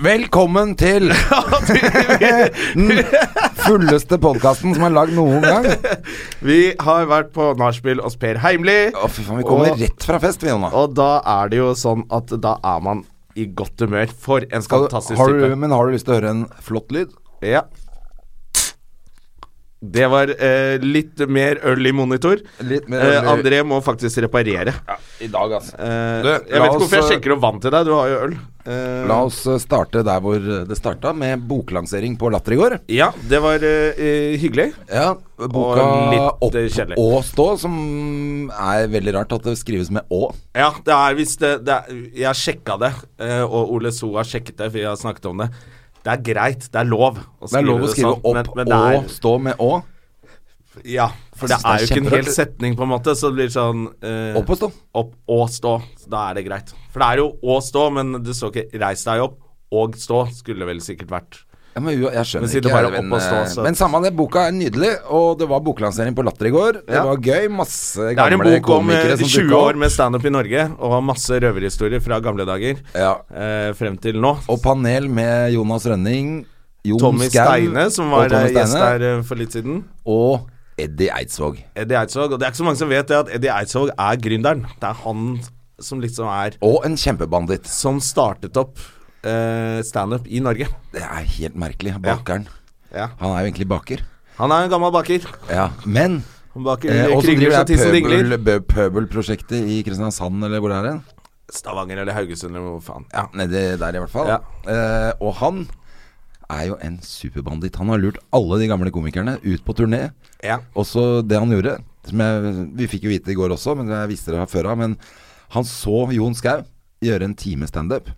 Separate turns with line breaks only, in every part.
Velkommen til
Fulleste podkasten som er lagd noen gang.
Vi har vært på nachspiel hos Per Heimli.
Å, fy faen, vi kommer
Og-
rett fra fest, vi, Jonna.
Og da er det jo sånn at da er man i godt humør. For en
Skal du-
fantastisk
Har du,
type.
men har du lyst til å høre en flott lyd?
Ja. Det var eh, litt mer øl i monitor.
Litt mer
eh,
øl i-
André må faktisk reparere.
I dag, altså.
Eh,
Du,
jeg
la
vet ikke hvorfor
oss,
jeg sjekker opp vann til deg. Du har jo øl. Eh,
La oss eh, starte der hvor eh, det starta, med boklansering på Latter i går.
Ja, det var eh, eh, hyggelig.
Ja, boka
litt,
Opp
eh, kjedelig.
og stå, som er veldig rart at det skrives med å.
Ja, det er hvis det, det er, Jeg sjekka det, eh, og Ole So har sjekket det, for vi har snakket om det. Det er greit. Det er lov å
Det er lov å skrive
sånn,
opp
men, men det
og
er,
stå med å.
Ja, for det er jo
Jeg synes det er
ikke en
kjemperart.
hel setning, på en måte, så det blir sånn eh,
Opp og stå.
Opp og stå. Så da er det greit. For det er jo å stå, men det står ikke 'reis deg opp' og stå, skulle vel sikkert vært.
Ja, men jo, jeg skjønner
Men siden
ikke
det bare
jeg,
er opp og stå,
eh,
så-
Men samme det, boka er nydelig, og det var boklansering på Latter i går. Det
Ja.
var gøy. Masse
Det er en
gamle
bok om eh,
komikere som
20
dukka
år
opp.
med standup i Norge, og masse røverhistorier fra gamle dager
Ja.
eh, frem til nå.
Og panel med Jonas Rønning, Jon
Tommy
Skau
Steine, som
og
var
Tommy
eh, gjest
Steine,
der eh, for litt siden.
Og Eddie Eidsvåg.
Eddie Eidsvåg. Og det er ikke så mange som vet det at Eddie Eidsvåg er gründeren. Det er han som liksom er
Og en kjempebanditt.
Som startet opp eh, standup i Norge.
Det er helt merkelig. Bakeren.
Ja.
Han er jo egentlig baker.
Han er en gammel baker.
Ja, men
Han baker
eh, Og så
kringler
driver
så tissen
jeg
dingler.
pøbel- bø- pøbelprosjektet i Kristiansand, eller hvor det er hen.
Stavanger eller Haugesund eller hvor faen.
Ja, nedi der i hvert fall.
Ja.
Eh, og han er jo en superbanditt. Han har lurt alle de gamle komikerne ut på turné.
Ja.
Og så det han gjorde som jeg, Vi fikk jo vite i går også, men jeg visste det fra før av. Men han så Jon Skau gjøre en time standup.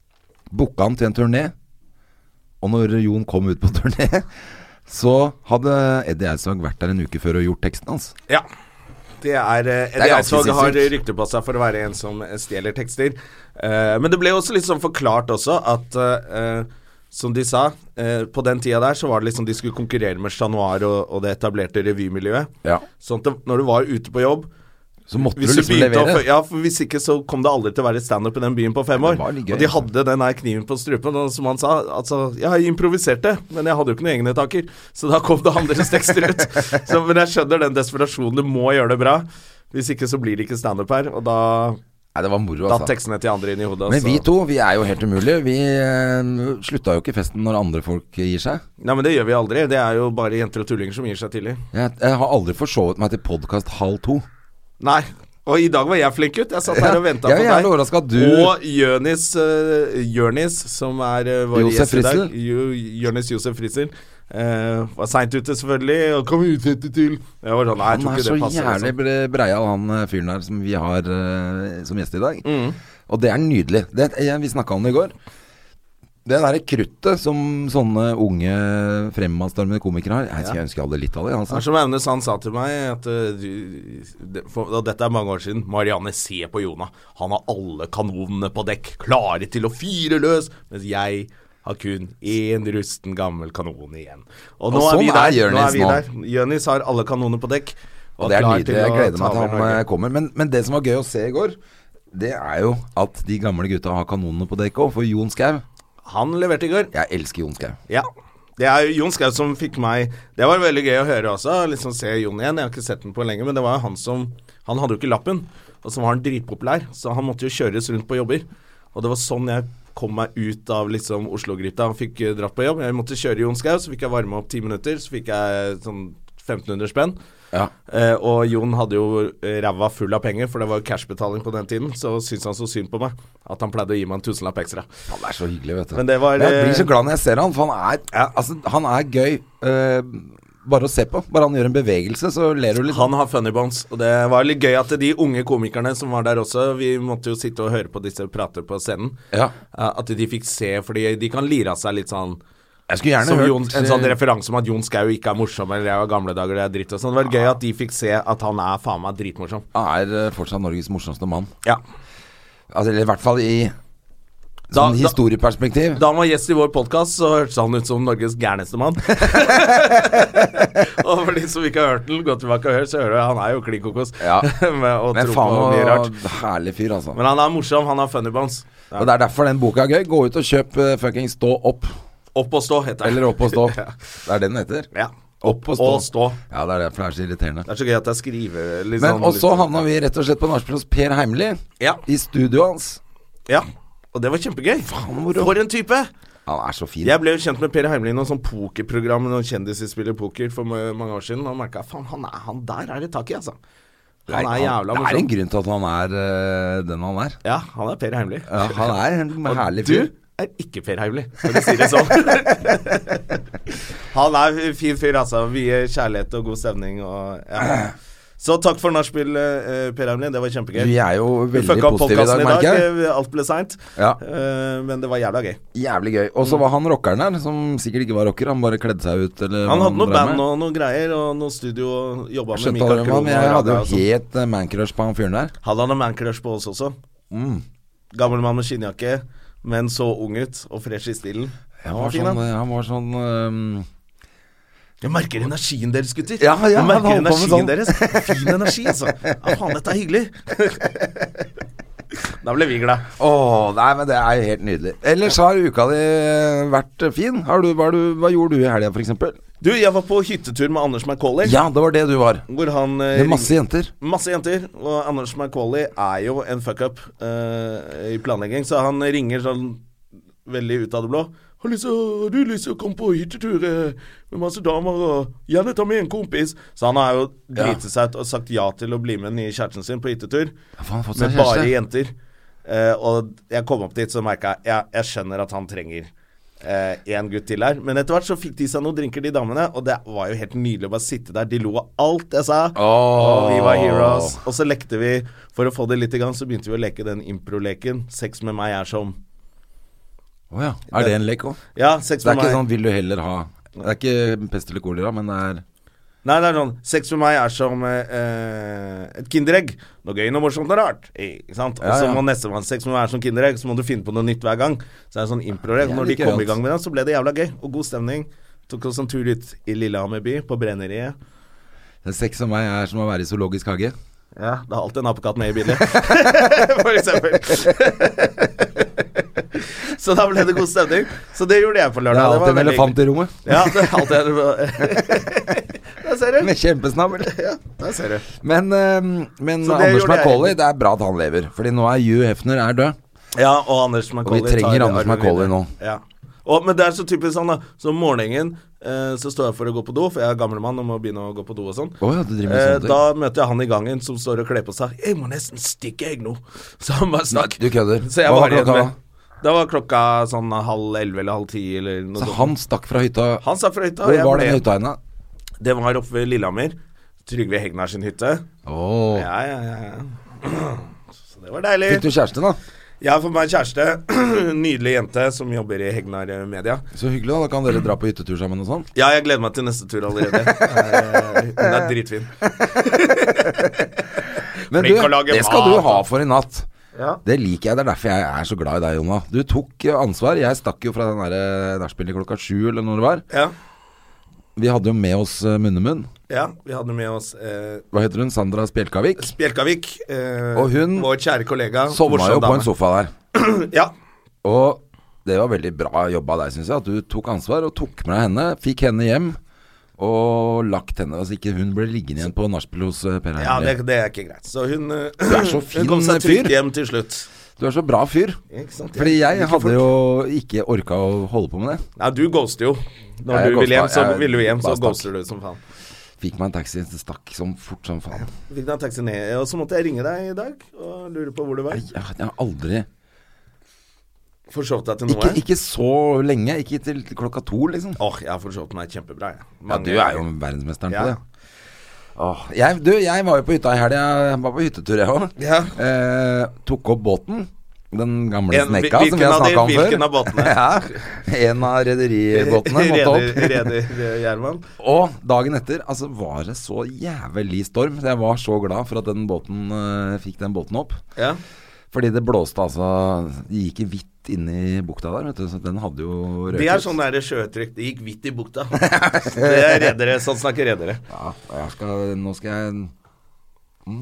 Booka han til en turné. Og når Jon kom ut på turné, så hadde Eddie Eidsvåg vært der en uke før og gjort teksten hans.
ja. Det er eh,
Det er
Eddie
ganske
Eidsvåg har
sinnssykt.
rykte på seg for å være en som stjeler tekster. Eh, men det ble jo også litt sånn forklart også at eh, som de sa, eh, på den tida der så var det liksom de skulle konkurrere med Chat Noir og, og det etablerte revymiljøet.
Ja.
Sånn at det, når du var ute på jobb
Så måtte
Hvis
du
du
liksom
begynte å
levere.
Ja, for hvis ikke så kom det aldri til å være standup i den byen på fem år.
det var litt gøy,
og de
altså.
hadde den her kniven på strupen, og som han sa Altså, jeg improviserte, men jeg hadde jo ikke noen egne taker, så da kom det andres tekster ut. Så, men jeg skjønner den desperasjonen. Du må gjøre det bra. Hvis ikke så blir det ikke standup her, og da
Nei, det var moro,
datt
altså.
tekstene til andre inn i hodet. altså.
Men
så-
vi to, vi er jo helt umulige. Vi eh, slutta jo ikke festen når andre folk gir seg.
Nei, men det gjør vi aldri. Det er jo bare jenter og tullinger som gir seg tidlig.
Jeg, jeg har aldri forsovet meg til podkast halv to.
Nei. Og i dag var jeg flink ut. Jeg satt
Ja,
her og venta
jeg
på
er
deg.
jævlig overrasket at du-
Og Jørnis, eh, Jørnis som er eh, vår
Josef
gjest i dag.
Fritzl.
Jo, Jørnis Josef Fritzl. eh, var seint ute, selvfølgelig. Og kom utsette til Jeg var sånn Nei, jeg
Han
tror
er
ikke
så
det passer.
jævlig
liksom.
bre- breial, han eh, fyren der som vi har eh, som gjest i dag.
Mm.
Og det er nydelig. Det, jeg, vi snakka om det i går. Det derre kruttet som sånne unge fremadstormende komikere har. Jeg skulle ønske jeg hadde litt av det.
Det er
Altså.
som Aune Sand sa til meg, at, eh, du- det- for, og dette er mange år siden Marianne, se på Jonah. Han har alle kanonene på dekk, klare til å fyre løs. Mens jeg har kun én rusten, gammel kanon igjen. Og nå
Og
er vi
sånn er
der. Nå er
Jørnis
vi
nå.
der. Jørnis har alle kanoner på dekk.
Og det er
klar til
nydelig. Jeg
å
gleder
ta
meg til
over
han
Norge.
eh, kommer. Men, men det som var gøy å se i går, det er jo at de gamle gutta har kanonene på dekk òg. For Jon Skau
Han leverte i går.
Jeg elsker Jon Skau.
Ja. Det er jo Jon Skau som fikk meg Det var veldig gøy å høre også. Liksom se Jon igjen. Jeg har ikke sett den på lenge, men det var jo han som Han hadde jo ikke lappen, og så var han dritpopulær, så han måtte jo kjøres rundt på jobber. Og det var sånn jeg kom meg ut av liksom Oslo-gryta og fikk eh, dratt på jobb. Jeg måtte kjøre Jon Skau, så fikk jeg varme opp ti minutter, så fikk jeg sånn 1500 spenn.
Ja.
Eh, og Jon hadde jo eh, ræva full av penger, for det var jo cashbetaling på den tiden. Så syntes han så synd på meg at han pleide å gi meg en tusenlapp ekstra.
Han er så hyggelig, vet du.
Men det var,
jeg blir
eh,
så glad når jeg ser han, for han er, altså, han er gøy. eh, Bare å se på. Bare han gjør en bevegelse, så ler du litt.
Han har funny bones, og det var litt gøy at de unge komikerne som var der også Vi måtte jo sitte og høre på disse prater på scenen.
Ja.
Eh, At de fikk se, fordi de kan lire av seg litt sånn
Jeg skulle gjerne
som
hørt
Jon, En sånn
eh,
referanse om at Jon Skau ikke er morsom, eller jeg var gamle dager, det er dritt og sånn. Det var
Ah.
gøy at de fikk se at han er faen meg dritmorsom.
Han er eh, fortsatt Norges morsomste mann.
Ja.
Altså, eller i hvert fall i
Da-
sånn
da-
historieperspektiv.
Da han var gjest i vår podkast, så hørtes han ut som Norges gærneste mann. og for de som ikke har hørt den, gå tilbake og hør, så hører du han er jo klin kokos.
Ja.
Med å
Men
tro
faen,
på mye rart.
og herlig fyr, altså.
Men han er morsom, han har funny bones.
Og Det er derfor den boka er gøy. Gå ut og kjøp uh, fucking Stå opp.
Opp og stå, heter han.
Eller Opp og stå.
Ja.
Det er det den heter.
ja.
Opp og stå.
Og stå.
Ja, det er derfor det er så irriterende.
Det er så gøy at jeg skriver litt
Men,
sånn-
og så
litt-
havna vi rett og slett på nachspiel hos Per Heimli.
Ja.
I studioet hans.
Ja. Og det var kjempegøy.
moro.
For en type!
Han er så fin.
Jeg ble jo kjent med Per Heimli i noe sånn pokerprogram, noen kjendiser spiller poker for ma- mange år siden, og merka faen, han, er, han der er det tak i, altså. Han er jævla
Det er en
morsom.
grunn til at han er eh, den han er.
Ja, han er Per Heimli.
Ja, han er en
Og
herlig
du
fyr.
er ikke Per Heimli, for å si det sånn. Han er en fin fyr, altså. Mye kjærlighet og god stemning og ja. Så takk for nachspiel, eh, Per Heimli. Det var kjempegøy.
Vi er jo
Vi
veldig
fucka opp
positive i dag,
podkasten i dag.
merker jeg.
eh, Alt ble seint.
Ja.
Eh, Men det var jævla gøy.
Jævlig gøy.
Mm.
Og så var han rockeren her, som sikkert ikke var rocker. Han bare kledde seg ut, eller
Han
hva
hadde noe
drev
band
med.
og noe greier, og noe studio og jobba med
Skjønte
Mikael
aldri hva,
Krohn.
men jeg
og
hadde
Raga og
jo
sånn.
helt eh, man-crush på han fyren der. Mm.
Hadde han en mancrush på oss også. Gammel mann med skinnjakke, men så ung ut og fresh i stilen.
Han
Han var
var
fin,
sånn,
han.
eh, han var sånn eh,
Jeg merker energien deres, gutter.
Ja, ja,
jeg
han
merker
holdt på
energien
med sånn.
deres. Fin energi, altså. Ja, faen, dette er hyggelig. da ble vi glad.
Åh, nei, men det er jo helt nydelig. Ellers har uka di eh, vært fin. Har du, hva, har du, hva gjorde du i helga, for eksempel?
Du, jeg var på hyttetur med Anders Macauley.
Ja, det var det du var.
Hvor han eh,
Med masse jenter.
Masse jenter, og Anders Macauley er jo en fuck-up eh, i planlegging, så han ringer sånn veldig ut av det blå. Har, lyst til, å- 'Har du lyst til å komme på hyttetur eh, med masse damer og gjerne ta med en kompis?' Så han har jo driti seg ut og sagt ja til å bli med den nye kjæresten sin på hyttetur.
Ja, faen, fått seg
med bare
kjæreste.
jenter. Eh, og jeg kom opp dit, så merka jeg, jeg Jeg skjønner at han trenger én gutt til her. Men etter hvert så fikk de seg noen drinker, de damene, og det var jo helt nydelig å bare sitte der. De lo av alt jeg sa.
Åh.
Og vi var heroes. Og så lekte vi, for å få det litt i gang, så begynte vi å leke den improleken. Sex med meg er som
Å ja. Er det en lek òg?
Ja, sex
Det er
med
ikke
meg
sånn 'vil du heller ha'. Det er ikke pest eller kolera, men det er
Nei, det er sånn Sex med meg er som eh, et kinderegg. Noe gøy, noe morsomt og rart. I- Ikke sant? Og
Ja,
så
ja.
må nestemann Sex med meg er som kinderegg, så må du finne på noe nytt hver gang. Så det er sånn improregg.
Det er
Når de
litt
kom
gøyalt.
i gang med det, så ble det jævla gøy. Og god stemning. Tok oss en tur ut i Lillehammer by, på Brenneriet.
Sex og meg er som å være i zoologisk hage.
Ja, det er alltid en apekatt med i bildet. For eksempel. så da ble det god stemning. Så det gjorde jeg på
Det er
lørdag.
alltid
var
en
veldig
elefant i rommet.
hyggelig. Ja, det er alltid en Der ser du.
Med kjempesnabel.
Ja, der ser du.
Men, eh, men
Så det
Anders
gjorde jeg.
Macaulay, det er bra at han lever. Fordi nå er Hugh Hefner er død.
Ja, og Anders Macaulay
Og vi trenger
tar
Anders
arven
Macaulay
videre.
nå.
Ja. Og, men det er så typisk sånn, da. Så om morgenen eh, så står jeg for å gå på do, for jeg er gamlemann og må begynne å gå på do og sånn.
Å ja, du driver med
Eh,
sånne ting.
da møter jeg han i gangen som står og kler på seg. 'Jeg må nesten stikke, jeg nå.' Så han bare snakk.
Nei, du kødder.
Så jeg
Hva var
var igjen
klokka
med. Da var klokka sånn halv elleve eller halv ti eller noe
Så
sånt.
han stakk fra hytta.
Han sa fra hytta. og
Hvor
jeg
var
ble-
den hytta henne?
Det var oppe ved Lillehammer. Trygve Hegnar sin hytte.
Åh.
Ja, ja, ja. ja. Så det var deilig.
Fikk du kjæreste, da?
Jeg har fått meg en kjæreste. Nydelig jente som jobber i Hegnar eh, Media.
Så hyggelig, da. Da kan dere dra på hyttetur sammen og sånn.
Ja, jeg gleder meg til neste tur allerede. Eh, Hun er dritfin.
Men du,
Flink å lage
det skal
mat,
du
da.
ha for i natt.
Ja.
Det liker jeg. Det er derfor jeg er så glad i deg, Jonna. Du tok eh, ansvar. Jeg stakk jo fra den derre nachspielet klokka sju, eller når det var.
Ja,
Vi hadde jo med oss eh, Munnemunn.
ja vi hadde med oss eh,
Hva heter hun? Sandra Spjelkavik.
Spjelkavik. Eh,
Og hun
vår kjære kollega.
Sovna
morsom
jo på
dame.
en sofa der.
Ja.
Og det var veldig bra jobba av deg, syns jeg. At du tok ansvar og tok med deg henne. Fikk henne hjem. Og lagt henne Altså ikke hun ble liggende igjen på nachspiel hos eh, Per
ja
Heimli.
det, det er ikke greit. Så hun, eh,
Du er så fin
hun kom seg
fyr.
trygt hjem til slutt.
Du er så bra fyr.
Ikke sant?
Fordi jeg
Like fort.
hadde jo ikke orka å holde på med det.
Nei, du ghoster jo. Når
Ja, jeg
du vil hjem,
ghosta.
så
Jeg
vil du hjem, så
bare stakk.
ghoster du som faen.
Fikk meg en taxi, det stakk som fort som faen.
Fikk deg en taxi ned, og så måtte jeg ringe deg i dag og lure på hvor du var.
Jeg, jeg har aldri
Forsovet deg til noe?
Ikke, ikke så lenge. Ikke til klokka to, liksom.
Åh, jeg har forsovet meg kjempebra, jeg.
Ja,
Mange-
du er jo verdensmesteren
Ja.
på det. Åh, jeg, du, jeg var jo på hytta i helga. Jeg var på hyttetur, jeg òg.
Ja.
Eh, tok opp båten. Den gamle
En-
snekka
hvil-
som vi
hvilken
har
av de-
snakka om før.
hvilken av båtene?
ja, en av rederibåtene måtte
Reder,
opp.
reder, reder Gjerman.
Og dagen etter altså, var det så jævlig storm. så Jeg var så glad for at den båten eh, fikk den båten opp.
Ja.
Fordi det blåste altså Det gikk i hvitt inni bukta der, vet du. Så den hadde jo røket.
Det er sånn der sjøtrykk. Det gikk hvitt i bukta. Det er redere. Sånn snakker redere.
Ja, jeg skal, nå skal jeg mm.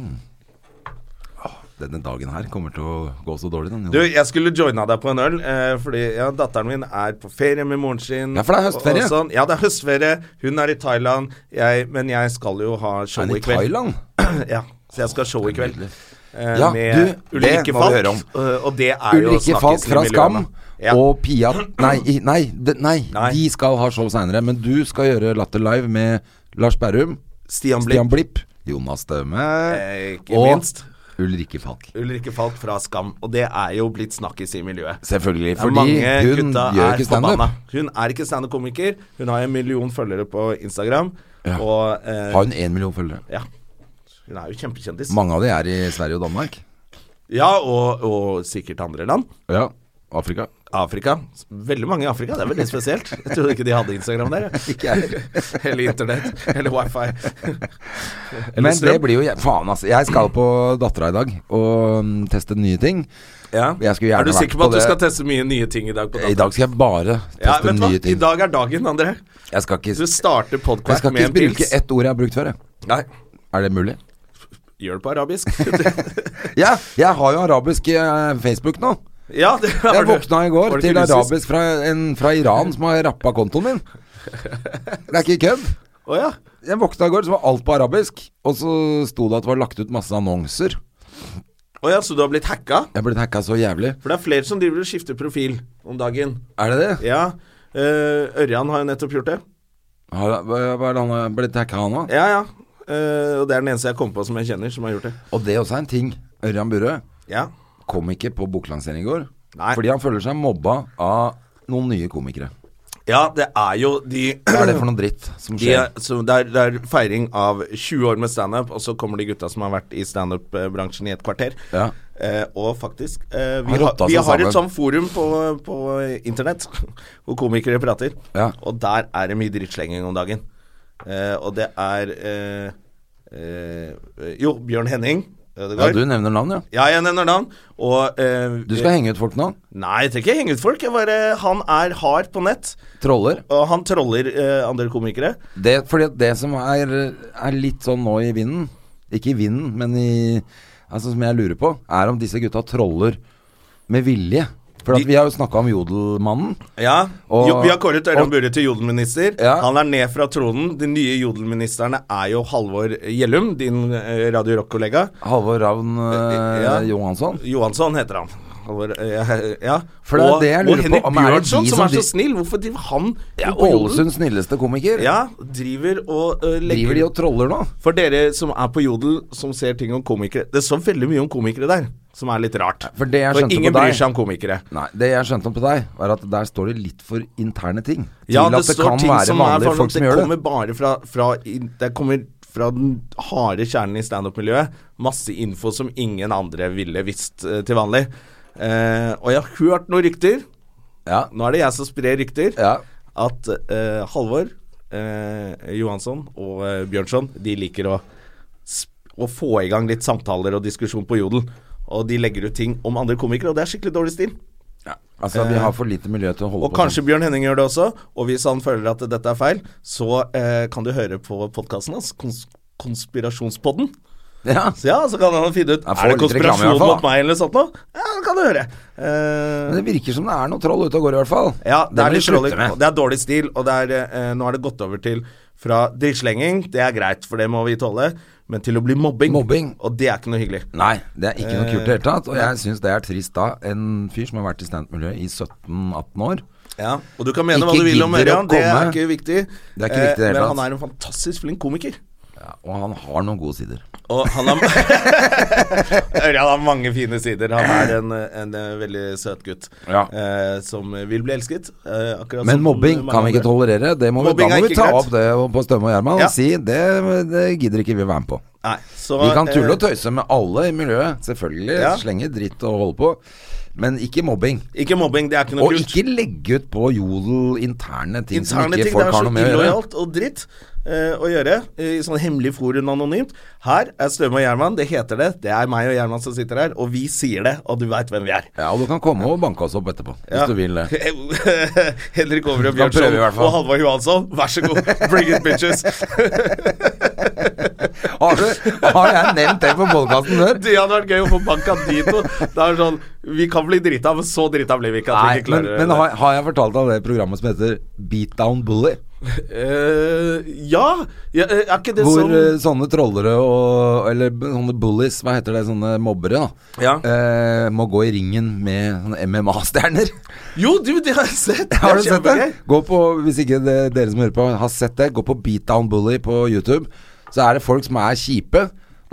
Åh, Denne dagen her kommer til å gå så dårlig. Den,
Du, jeg skulle joina deg på en øl, eh, fordi ja, datteren min er på ferie med moren sin.
Ja, for det er høstferie.
og- og sånn. Ja, det er høstferie. Hun er i Thailand. Jeg, men jeg skal jo ha show
er
i
i
kveld.
Thailand?
ja, så jeg skal ha show i kveld. Eh,
Ja,
med
du,
Ulrikke
det må
Falk.
vi høre om.
eh, Og det er jo
Ulrikke Falk
snakkisen i
fra
miljøet,
Skam
da. ja.
og Pia nei, i- nei, de, nei,
Nei.
de skal ha show seinere. Men du skal gjøre Latter Live med Lars Berrum,
Stian Blipp.
Stian Blipp, Jonas Støme
Eh, ikke
og
minst.
Ulrikke Falk.
Ulrikke Falk fra Skam. Og det er jo blitt snakkis i miljøet.
Selvfølgelig.
Det er
Fordi
mange
hun
gutta
gjør
er
ikke standup.
forbanna. Hun er ikke standup-komiker. Hun har en million følgere på Instagram.
Ja.
Og eh,
Har hun én million følgere?
ja. Hun er jo kjempekjendis.
Mange av de er i Sverige og Danmark.
Ja, og, og sikkert andre land.
Ja. Afrika.
Afrika. Veldig mange i Afrika. Det er veldig spesielt. Jeg trodde ikke de hadde Instagram der. jeg.
Ikke jeg heller.
Eller internett. Eller wifi.
Men
strøm.
det blir jo jæ- Faen, altså. Jeg skal på Dattera i dag og mm, teste nye ting.
Ja.
Jeg skulle
er du
gjerne vært
sikker på
på
at du
det.
skal teste mye nye ting i dag? På
I dag skal jeg bare
ja,
teste
vet du hva?
nye
I
ting.
dag er dagen, André.
Jeg skal ikke,
Du starter
jeg
podkast
skal
med
ikke
en
bruke
pils.
ett ord jeg har brukt før, jeg.
Nei,
Er det mulig?
gjør det på arabisk.
Ja, jeg har jo arabisk eh, Facebook nå.
ja, det har
Jeg
du.
våkna i
Var
går
det
til
ikke russisk?
arabisk fra, en, fra Iran som har rappa kontoen min. Det er ikke kødd.
Å ja.
Jeg våkna i går, så var alt på arabisk. Og så sto det at det var lagt ut masse annonser.
Å ja, så du har blitt hacka?
Jeg er blitt hacka så jævlig.
For det er flere som driver og skifter profil om dagen.
Er det det?
Ja. eh, Ørjan har jo nettopp gjort det.
Har, hva hva er det han har blitt hacka han av?
Ja, ja. Eh, og det er den eneste jeg kom på som jeg kjenner, som har gjort det.
Og det også er en ting. Ørjan Burøe
Ja.
kom ikke på boklansering i går.
Nei.
Fordi han føler seg mobba av noen nye komikere.
ja, det er jo de,
Hva er det for noe dritt som
de
skjer?
så det, er, det er feiring av 20 år med standup, og så kommer de gutta som har vært i standup-bransjen i et kvarter.
Ja.
Eh, og faktisk eh, Vi,
Har
har,
rotta
vi
seg
har et
sammen.
sånt forum på, på internett hvor komikere prater.
Ja.
Og der er det mye drittslenging om dagen. Eh, og det er eh, eh, Jo, Bjørn Henning
Ja,
Ødegaard.
du nevner navn, ja.
Ja, jeg nevner navn. Og eh,
Du skal henge ut folk nå?
Nei, jeg trenger ikke henge ut folk. Jeg bare, han er hard på nett.
Troller?
Og han troller eh, andre komikere.
Det, fordi at det som er, er litt sånn nå i vinden Ikke i vinden, men i Altså som jeg lurer på, er om disse gutta troller med vilje. For at
De-
vi har jo snakka om Jodelmannen.
Ja,
Og-
jo, Vi har kåret Ørjan
og-
Burre til jodelminister.
Ja.
Han er ned fra tronen. De nye jodelministerne er jo Halvor Gjellum, din eh, Radio Rock-kollega.
Halvor Ravn eh,
Ja.
Johansson.
Johansson heter han. Halvor, eh, ja.
For det er
og,
det jeg lurer
og
på,
Henrik
om er det de
Bjørnson, som
som
er så
dri-
snill. Hvorfor driver han
Ja,
på jodel?
Ålesunds snilleste komiker.
Ja, driver og eh, legger
Driver de og troller nå?
For dere som er på Jodel, som ser ting om komikere Det står veldig mye om komikere der, som er litt rart.
For det jeg skjønte
ingen
på deg-
bryr seg om komikere.
Nei, det jeg skjønte om på deg, var at der står det litt for interne ting. Til
Ja, det,
at det
står
kan
ting
være
som er
vanlige
for
folk som
Det
gjør det.
kommer bare fra, fra i- Det kommer fra den harde kjernen i standup-miljøet. Masse info som ingen andre ville visst eh, til vanlig. Eh, og jeg har hørt noen rykter.
Ja.
Nå er det jeg som sprer rykter.
Ja.
At eh, Halvor eh, Johansson og eh, Bjørnson De liker å, sp- å få i gang litt samtaler og diskusjon på Jodel. Og de legger ut ting om andre komikere, og det er skikkelig dårlig stil.
Altså, vi har for lite miljø til å holde
Eh, Og
på sånn.
kanskje Bjørn Henning gjør det også. Og hvis han føler at dette er feil, så eh, kan du høre på podkasten hans, kons Konspirasjonspodden.
sånn. Ja.
Så ja, så kan han finne ut
Jeg får
Er det
litt reklame i hvert
konspirasjon
fall, da.
mot meg eller sånt noe. Ja, det kan du høre. Eh,
Men det virker som det er noe troll ute og går, i hvert fall.
Ja, det, er litt
må vi
dårlig,
slutte med.
det er dårlig stil, og det er, eh, nå har det gått over til fra drittslenging, det er greit, for det må vi tåle, men til å bli mobbing.
Mobbing.
Og det er ikke noe hyggelig.
Nei, det er ikke noe kult i det hele tatt. Og jeg syns det er trist da. En fyr som har vært i standup-miljøet i 17-18 år.
Ja, og du kan mene
Ikke
hva du vil om
gidder å
Ørjan, det er
komme.
ikke viktig. Eh,
Det er ikke viktig i
men
det hele
han
tatt.
er en fantastisk flink komiker.
Ja, og han har noen gode sider.
Og han har Ørjan har mange fine sider. Han er en, en veldig søt gutt
Ja.
eh, som vil bli elsket. Eh, akkurat
Men
som
mobbing
mange
kan vi ikke
andre.
tolerere. Det må vi,
Mobbing
da
er
må vi
ikke
ta
greit.
opp det på Stømme og Gjerman
Ja.
og si det, det gidder ikke vi være med på.
Nei, så,
Vi kan tulle
eh,
og tøyse med alle i miljøet, selvfølgelig.
Ja.
Slenge dritt og holde på. Men ikke mobbing.
eh, Ikke mobbing, det er ikke noe
Og
kult.
ikke legge ut på Jodel interne ting som
Interne
ikke
ting, det
folk
er så
har noe med å gjøre.
illojalt og dritt eh, å gjøre eh, i sånn hemmelig forum anonymt. Her er Støme og Gjerman, det heter det. Det er meg og Gjerman som sitter her, og vi sier det, og du veit hvem vi er.
Ja, og du kan komme og banke oss opp etterpå,
Ja.
hvis du vil det.
Henrik Over og
Da prøver
Bjørnson
vi i hvert fall.
og Halvor Johansson, vær så god. Bring it, bitches.
Har, du, har jeg nevnt det på podkasten før?
Det hadde vært gøy å få banka de to. Det er sånn Vi kan bli drita, men så drita blir vi ikke at vi
Nei,
ikke
men,
klarer
men har, har jeg fortalt deg det programmet som heter Beatdown Bully?
Eh, ja. ja eh, Er ikke det
Hvor
sånn
eh, sånne trollere og Eller b- sånne bullies, hva heter det, sånne mobbere, da.
Ja.
Eh, må gå i ringen med sånne MMA-stjerner.
Jo, du, det har jeg sett.
Har du
er
sett det?
kjempegøy.
Gå på, Hvis ikke det, dere som hører på har sett det, gå på Beatdown Bully på YouTube. Så er det folk som er kjipe,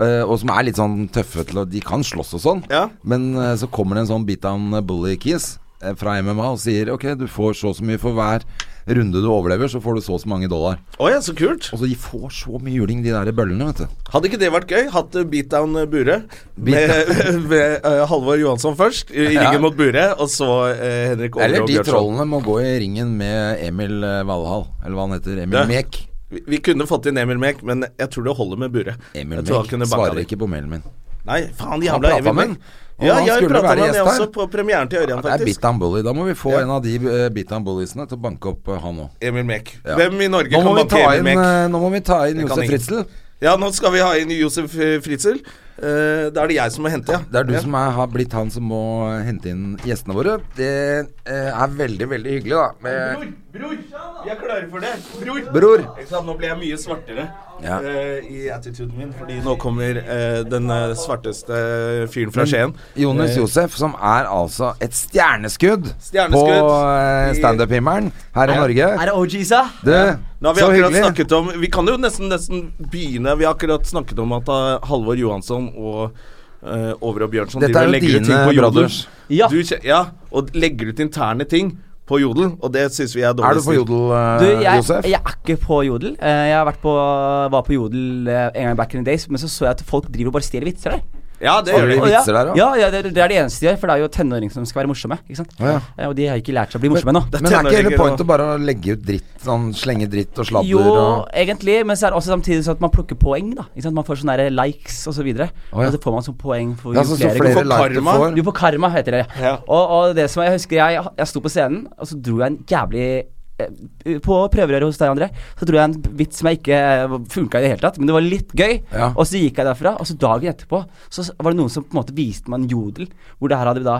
eh, og som er litt sånn tøffe til å De kan slåss og sånn,
Ja.
men eh, så kommer det en sånn Beatdown Bully-kis eh, fra MMA og sier OK, du får så og så mye for hver runde du overlever, så får du så og så mange dollar.
Å ja, så kult.
Og så de får så mye juling, de der bøllene, vet du.
Hadde ikke det vært gøy? Hatt eh, Beatdown eh, Bure med, med eh, Halvor Johansson først, i ringen
Ja.
mot Bure, og så eh, Henrik Over
Eller
og
de
Bjørnson.
trollene må gå i ringen med Emil eh, Valhall, eller hva han heter. Emil
Det-
Mek.
Vi, vi kunne fått inn Emil Mek, men jeg tror det holder med Bure.
Emil
jeg tror han
Mek
kunne banka
svarer
de.
ikke på mailen min.
Nei, faen
Han
jævla
pratet
Emil
med
Mek.
han, og
Ja,
han
jeg
skulle
prata
være
med han jeg
gjest her.
også, på premieren til Ørjan,
Det er
faktisk.
Bitan Bully. Da må vi få
Ja.
en av de eh, Bitan Bulliesene til å banke opp eh, han òg.
Emil Mek.
Ja.
Hvem i Norge
Nå, må
kan
vi ta
banke Emil
inn,
Mek?
eh, nå må vi ta inn
Det kan
Josef
ingen.
Fritzel.
Ja, nå skal vi ha inn Josef eh, Fritzel. Eh, da er det jeg som må hente, ja.
Det er du
ja.
som er, har blitt han som må eh, hente inn gjestene våre. Det eh, er veldig, veldig hyggelig, da. Med
Bror! Vi er klare for det. Bror!
Bror.
Ikke sant, nå ble jeg mye svartere
Ja.
eh, i attituden min, fordi nå kommer eh, den eh, svarteste fyren fra Skien.
Jonis
Eh.
Josef, som er altså et stjerneskudd,
Stjerneskudd.
på eh, standup-himmelen her i Norge.
Er det OGsa?
Du,
Nå har vi
så
akkurat
hyggelig.
snakket om Vi kan jo nesten, nesten begynne. Vi har akkurat snakket om at eh, Halvor Johansson og eh, Over og Bjørnson
Dette
driver og
er jo
legger ut
dine
ting på Jodel.
brothers.
Ja.
Du kje- ja. Og legger ut interne ting på Jodel, og det syns vi er dårlig.
Er du på
stil.
Jodel, eh,
Du, jeg,
Josef?
jeg er ikke på Jodel. Eh, Jeg har vært på, var på Jodel eh, en gang back in the days, men så så jeg at folk driver og bare stjeler vitser der.
Ja, det
Har
gjør
du
vi.
Stjeler
Og ja,
vitser der også?
ja, ja det, det er det eneste de gjør, for det er jo tenåringer som skal være morsomme. Ikke sant?
Ja.
Eh, Og de har ikke lært seg å bli morsomme ennå.
Men er ikke hele
tenåringer
point
og-
å bare legge ut dritt? Sånn slenge dritt og sladder
Jo,
og
egentlig, men så er det også samtidig sånn at man plukker poeng. da ikke sant? Man får sånne der likes og så videre.
Å, ja.
Og så får man sånn poeng for
Ja,
jo
så, så flere
flere
får
like du
karma.
får.
Du får karma, heter det.
Ja.
Og, og det som jeg husker jeg, jeg sto på scenen, og så dro jeg en jævlig eh, på prøverøret hos deg, André, så dro jeg en vits som jeg ikke funka i det hele tatt, men det var litt gøy.
Ja.
Og så gikk jeg derfra, og så dagen etterpå så s- var det noen som på en måte viste meg en jodel, hvor det her hadde da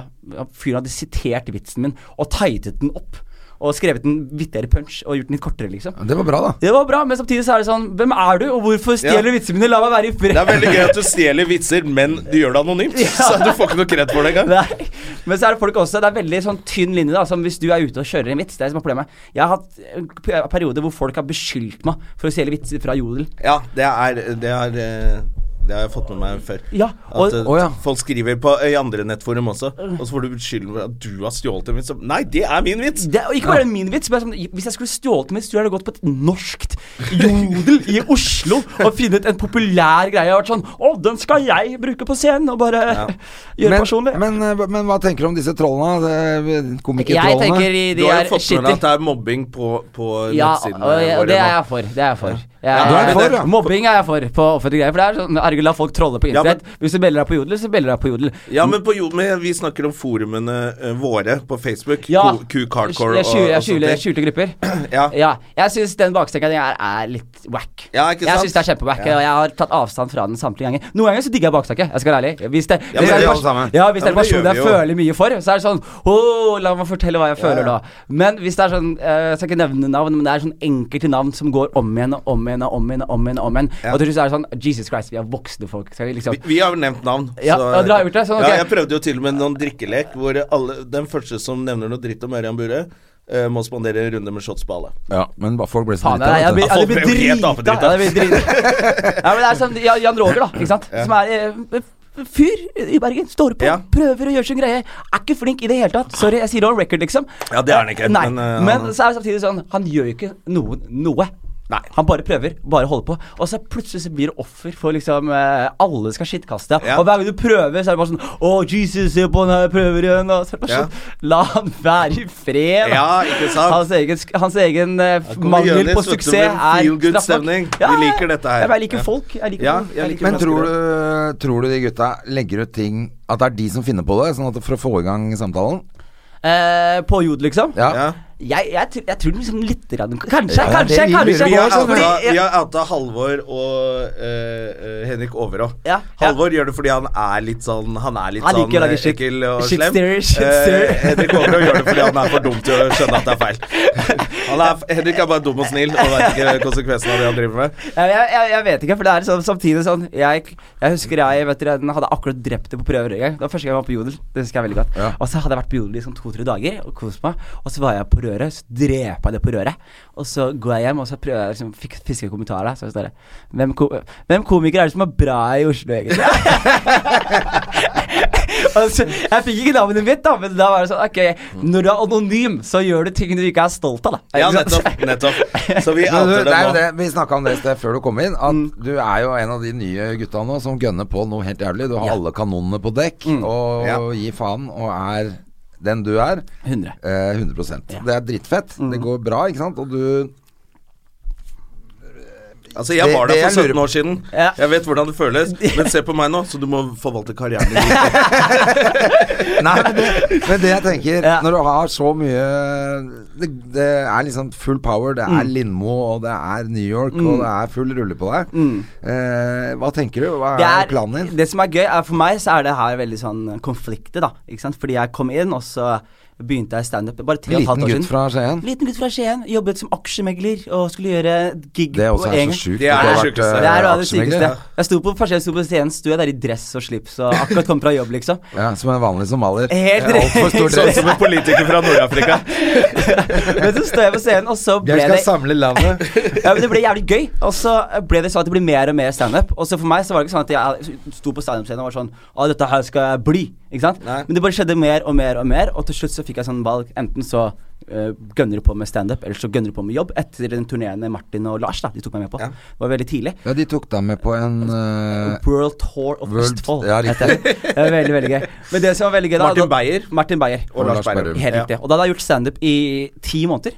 Fyren hadde sitert vitsen min og tightet den opp, og skrevet en vittigere punch og gjort den litt kortere, liksom.
Det var bra, da.
Det var bra, men samtidig så er det sånn Hvem er du, og hvorfor stjeler du
Ja.
vitsene mine? La meg være i fred.
Det er veldig gøy at du stjeler vitser, men du gjør det anonymt. Så du får ikke noe kredd for det engang.
Nei. Men så er det folk også Det er veldig sånn tynn linje, da. Som hvis du er ute og kjører en vits. Det er det som er problemet. Jeg har hatt en p- perioder hvor folk har beskyldt meg for å stjele vitser fra Jodel.
Ja, det er Det, er, eh, det har jeg fått med meg før.
Ja, og-
at eh,
Å, ja.
folk skriver på, eh, i andre nettforum også, og så får du beskylden for at du har stjålet en vits. Nei, det er min vits!
Det, og ikke bare min vits, men sånn, hvis jeg skulle stjålet en vits, tror jeg det hadde gått på et norskt Jodel i Oslo og funnet en populær greie og vært sånn Å, den skal jeg bruke på scenen! Og bare gjøre
Men,
personlig.
men, eh, hva- men hva tenker du om disse trollene? eh,
jeg tenker
Komikertrollene?
de,
Du
de
har
er
jo fått med
shitty.
deg at det er mobbing på, på
Ja,
nettsidene
og jeg- og
våre
det er
nå.
jeg for. Det er jeg for.
du er
Jeg,
for, ja.
Mobbing er jeg for på offentlige greier. For det er sånn Herregud, la folk trolle på
Ja, men-
internett. Hvis du melder deg på Jodel, så melder du deg på Jodel.
Ja, men på jo, men vi snakker om forumene eh, våre på Facebook.
Ja.
Kuk Hardcore
jeg skjuler, jeg
og, og
skjuler,
sånt.
skjulte grupper.
Ja.
ja. Jeg syns den bakstenga di er, er litt wack.
Ja, ikke
jeg
sant?
syns det er kjempewack,
Ja.
og jeg har tatt avstand fra den samtlige ganger. Noen ganger så digger jeg bakstekke, jeg skal være ærlig. Hvis det,
Ja, men det
hvis det er
gjør
en
alle sammen.
pers- ja, hvis
Ja,
det er en
men det gjør
person jeg
vi jo.
føler mye for, så er det sånn Åh, la meg fortelle hva jeg føler
ja.
da. Men hvis det er sånn eh, Jeg skal ikke nevne navn, men det er sånn enkelte navn som går om igjen og om igjen og om igjen og om igjen. Og om igjen Og til slutt er det sånn Jesus Christ, vi er voksne folk. Skal vi liksom
Vi, vi har jo nevnt navn.
Ja, ja, dere har gjort det, sånn, ok.
ja, jeg prøvde jo til og med noen drikkelek hvor alle, den første som nevner noe dritt om Ørjan Bure, eh, må spandere runder med shots på alle.
Ja, men ba- folk ble så
Faen, jeg, jeg,
drita.
Ja, folk
vet du.
jeg, blir- jeg,
ble jo helt
blir drita. Ja, jeg blir drita. Ja, men det er som Jan- Jan Roger, da. Ikke sant? Som er eh, fyr i Bergen. Står på,
Ja.
prøver å gjøre sin greie. Er ikke flink i det hele tatt. Sorry, jeg sier det on record, liksom.
Ja, det er han ikke,
Nei,
men,
men,
eh, han-
så er det samtidig sånn Han gjør jo ikke noen noe.
Nei.
Han bare prøver, bare holder på. Og så plutselig så blir det offer for liksom eh, Alle skal skittkaste.
Ja.
Og hver gang du prøver, så er det bare sånn Å, Jesus, se på han her, prøver igjen. Og så er det bare
Ja.
sånn, La han være i fred. da.
Ja, ikke sant?
Hans egen, sk- hans egen eh,
kommer
mangel på
Jonis, vet du,
suksess
med
er
feel good
straff nok.
stemning. Vi liker dette her.
Ja, men Jeg liker
Ja.
folk. Jeg liker
Ja,
folk.
jeg liker
Men tror du, tror du de gutta legger ut ting At det er de som finner på det, sånn at for å få i gang samtalen?
Eh, på jod, liksom?
Ja.
Ja.
Jeg, jeg, tror- jeg tror liksom litt grann, Kanskje,
Ja, det
kanskje,
vi
kanskje.
lurer
Vi har
Ja,
outa,
fordi
jeg-
vi har outa Halvor og eh, eh, Henrik Overå.
Ja, ja.
Halvor gjør det fordi han er litt sånn Han er litt
Han liker å
sånn
lage
eh,
shit-
ekkel og slem.
shitster, shitster.
Eh, Henrik Overå gjør det fordi han er for dum til å skjønne at det er feil. Han er, Henrik er bare dum og snill og veit ikke konsekvensen av det han driver med.
Ja, Jeg, jeg, jeg vet ikke, for det er sånn, samtidig sånn Jeg, jeg husker jeg vet dere, den hadde akkurat drept det på prøver en gang. Det var første gang jeg var på Jodel. Det husker jeg veldig godt.
Ja.
Og så hadde jeg vært på Jodel i sånn to-tre dager og kost meg. Og så var jeg på røret, så drepa jeg det på røret. Og så går jeg hjem, og så prøver jeg liksom fik- fiske kommentarer. Så står det sånn hvem, ko hvem komiker er det som er bra i Oslo, egentlig? altså, jeg fikk ikke navnet mitt, da, men da var det sånn Ok, når du er anonym, så gjør du ting du ikke er stolt av, da.
Ja,
Ikke sant?
nettopp. nettopp Så vi
Men du,
outer
det er
dem nå.
jo
Mm.
det, Vi snakka om det i sted før du kom inn, at du er jo en av de nye gutta nå som gønner på noe helt jævlig. Du har alle kanonene på dekk og
Mm. Ja.
gir faen og er den du er.
100.
Eh, 100 Det er drittfett.
Mm.
Det går bra, ikke sant? Og du
Altså, jeg
Det-
var der
det
for
jeg lurer
17 år siden.
Ja.
Jeg vet hvordan det føles. Men se på meg nå, så du må forvalte karrieren din.
Nei, men det, men det jeg tenker
Ja.
Når du har så mye det, det er liksom full power. Det
Mm.
er Lindmo, og det er New York, og det er full rulle på deg. Eh, hva tenker du? Hva er, planen din?
Det som Mm. er gøy, er for meg så er det her veldig sånn konflikter, da. Ikke sant? Fordi jeg kom inn, og så begynte jeg standup bare tre og
Liten
et halvt år
gutt
siden.
fra Skien.
Liten gutt fra Skien. Jobbet som aksjemegler og skulle gjøre gig
Det også
på
er så
en gang.
sjukt.
Det er
at du har
det sjukeste.
vært, eh,
Det er noe av det
aksjemegler.
sykeste. Jeg sto på, første gang jeg sto på scenen, sto jeg der i dress og slips og akkurat kommet fra jobb, liksom.
Ja, som en vanlig somalier.
Helt
Ja, Altfor stor
Sånn
dress.
som en politiker fra Nord-Afrika.
Men så står jeg på scenen, og så ble
Jeg skal
det
samle landet.
ja, men Det ble jævlig gøy. Og så ble det sånn at det ble mer og mer standup. Og så for meg så var det ikke sånn at jeg sto på standup-scenen og var sånn Å, dette her skal jeg bli. Ikke sant?
Nei.
Men det bare skjedde mer og mer og mer, og til slutt så fikk jeg sånn valg. Enten så eh, gønner du på med standup, eller så gønner du på med jobb. Etter den turneen med Martin og Lars, da. De tok meg med på.
Ja.
Det var veldig tidlig.
Ja, de tok deg med på en eh,
World Tour of
World-
Østfold.
ja,
heter det. det var veldig, veldig gøy. Men det som var veldig gøy da
Martin
da-
Beyer.
Martin Beyer.
Og Lars Berrum.
Helt
Ja.
riktig. Og da hadde jeg gjort standup i ti måneder.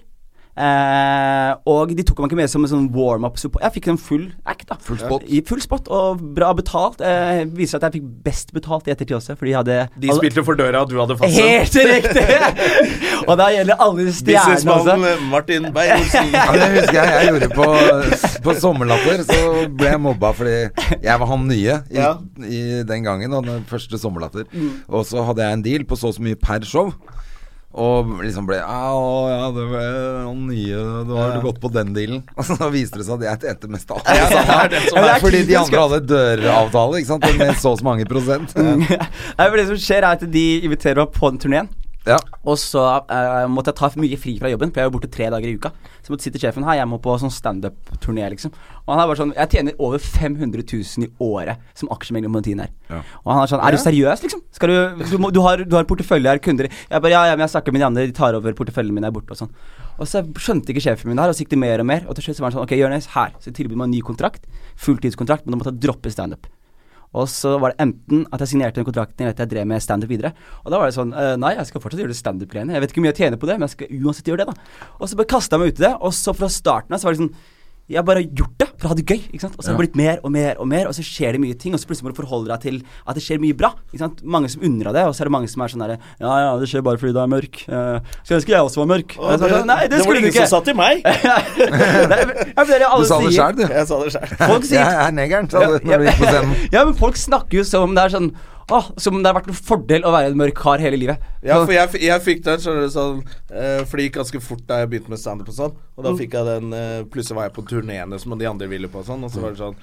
Eh, og de tok meg ikke med som en sånn warm-up-support. Jeg fikk en full act, da. Full
spot.
I full spot, og bra betalt. Eh, viser at jeg fikk best betalt i ettertid også, fordi jeg hadde
De spilte for døra, og du hadde fast en.
Altså- Helt riktig! og da gjelder alle stjernene også.
Businessmannen Martin Beyer-Olsen.
Ja, det husker jeg jeg gjorde på, på Sommerlatter. Så ble jeg mobba fordi jeg var han nye i,
Ja.
i den gangen. Og den første Sommerlatter. Og så hadde jeg en deal på så og så mye per show. Og liksom ble «Ja, Å ja, det var han nye Du har du gått på den dealen. Og så viste det seg at jeg tjente mest av alle
det eh, er det
sammen.
som
Ja,
er
Fordi de
typisk,
andre hadde døravtale, ikke sant. Med så og så mange prosent.
Mm. Nei, for det som skjer, er at de inviterer meg på den turneen.
Ja.
Og så eh, måtte jeg ta mye fri fra jobben, for jeg var borte tre dager i uka. Så måtte jeg si til sjefen her, jeg må på sånn standup-turné, liksom. Og han er bare sånn, jeg tjener over 500 000 i året som aksjemegler på den tiden her. Og han er sånn, er du seriøs, liksom? Skal du, du, må, du, har, du har portefølje her, kunder Jeg bare, ja, ja, men jeg snakker med de andre, de tar over porteføljen min, jeg er borte og sånn. Og så skjønte ikke sjefen min det her, og så gikk det mer og mer. Og til slutt så var han sånn, ok, Jonis, her. Så tilbyr man en ny kontrakt, fulltidskontrakt, men du måtte droppe standup. Og så var det enten at jeg signerte den kontrakten eller at jeg drev med standup videre. Og da var det sånn eh, Nei, jeg skal fortsatt gjøre det standup-greiene. Jeg vet ikke hvor mye jeg tjener på det, men jeg skal uansett gjøre det, da. Og så bare kasta jeg meg ut i det. Og så fra starten av så var det sånn jeg har bare gjort det for å ha det gøy. ikke sant? Og så har det blitt mer og mer og mer, og så skjer det mye ting. Og så plutselig må du forholde deg til at det skjer mye bra. ikke sant? Mange som unner deg det, og så er det mange som er sånn derre Ja, ja, det skjer bare fordi du er mørk. Eh, Skulle ønske jeg også var mørk. Og så er det sånn, Nei, det, skulle du ikke.
til meg.
Nei, men- ja, men det er det alle
Du sa det
sier.
sjæl, du.
Jeg sa det sjøl.
Folk sier
Jeg er negeren, sa du når du gikk på scenen.
ja, men folk snakker jo som om det er sånn Åh, som om det har vært en fordel å være en mørk kar hele livet.
Ja, for jeg, f- jeg fikk den, skjønner du, sånn eh, For det gikk ganske fort da jeg begynte med standup og sånn. Og
Mm.
da fikk jeg den
Mm.
eh, Plutselig var jeg på turneene som de andre ville på og sånn, og så var det sånn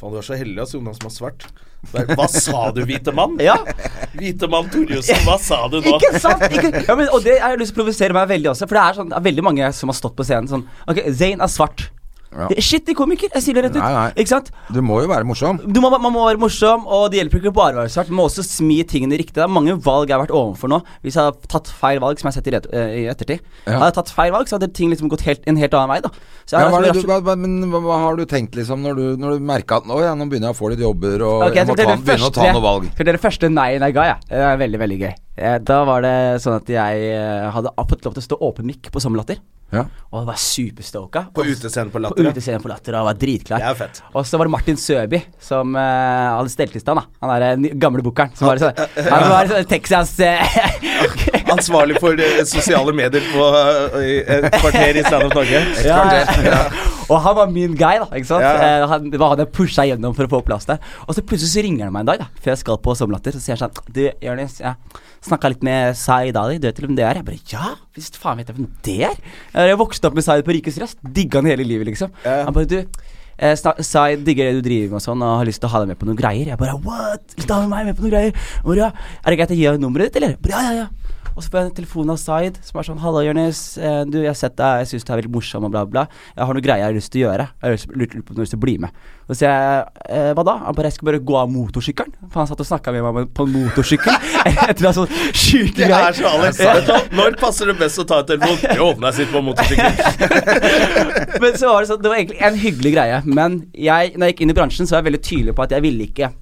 Faen, du er så heldig, ass, Jonas, som har svart. Bare, Hva sa du, hvite mann?
Ja.
Hvite mann Torjussen, hva sa du nå?
Ikke sant? Ikke, ja, men, og det har jeg lyst til å provosere meg veldig også, for det er sånn, det er veldig mange som har stått på scenen sånn Ok, Zain er svart.
Ja.
Shit, de komiker. Jeg sier det rett ut.
Nei, nei.
Ikke sant?
Du må jo være morsom.
du må, man må være morsom, og det hjelper ikke bare å være svart. Man må også smi tingene riktig. Det er mange valg jeg har vært overfor nå. Hvis jeg hadde tatt feil valg, som jeg har sett i, ret eh, i ettertid
Ja.
Hadde jeg tatt feil valg, så hadde ting liksom gått helt, en helt annen vei. da Så jeg
Ja,
er
hva, er det du,
liksom
hva, hva, men hva, hva har du tenkt liksom når du, når du merka at Å ja, nå begynner jeg å få litt jobber og
Ok,
jeg
jeg
må
skal
ta,
fortelle det
begynne å ta
første-
noen valg?
Skal dere første nei-en jeg ga, jeg. Det er veldig, veldig gøy. Eh, Da var det sånn at jeg eh, hadde fått lov til å stå åpen mikk på Sommerlatter.
Ja.
Og var superstoka.
På utescenen på
På
Latter. ja.
utescenen på Latter og var dritklar.
Det er fett.
Og så var det Martin Søby som eh, hadde stelt i stand. da. Han er den gamle bookeren. Som var i sånn, han var i sånn Texas eh,
Ansvarlig for eh, sosiale medier på eh, i et kvarter i Standup Norge.
ja, ja. Og han var min guy, da. ikke sant?
Ja, ja.
Eh, Han, det var han jeg pusha gjennom for å få plass der. Og så plutselig så ringer han meg en dag, da, før jeg skal på sommerlatter. Så sier han sånn Du, Jonis, jeg snakka litt med Zaid Ali. Du vet vel hvem det er? Jeg bare Ja, visst faen vet jeg hvem det er. Jeg har vokst opp med Zaid på Rikets Røst. Digga han hele livet, liksom. Han bare Du, eh, sna- Zaid digger det du driver med og sånn, og har lyst til å ha deg med på noen greier. Jeg bare What? Lyst til å ha meg med på noen greier? Jeg Bare, ja. Er det greit jeg gir deg nummeret ditt, eller? Jeg Bare, ja, ja, ja. Og så får jeg en telefon av Zaid som er sånn Halla, Jonis. eh, Du, jeg har sett deg, jeg syns du er veldig morsom og bla, bla. Jeg har noe greier jeg har lyst til å gjøre. Jeg har lyst- lurt lurt på om du har lyst til å bli med. Og så sier jeg eh, hva da? Han bare jeg skal bare gå av motorsykkelen. For han satt og snakka med meg på en motorsykkel. Etter å ha sånn sjuke
Det er så Alex.
Ja.
Vet du hva? Når passer det best å ta en telefon? Jo, når jeg sitter på motorsykkel.
Men så var det sånn, det var egentlig en hyggelig greie. Men jeg, når jeg gikk inn i bransjen, så var jeg veldig tydelig på at jeg ville ikke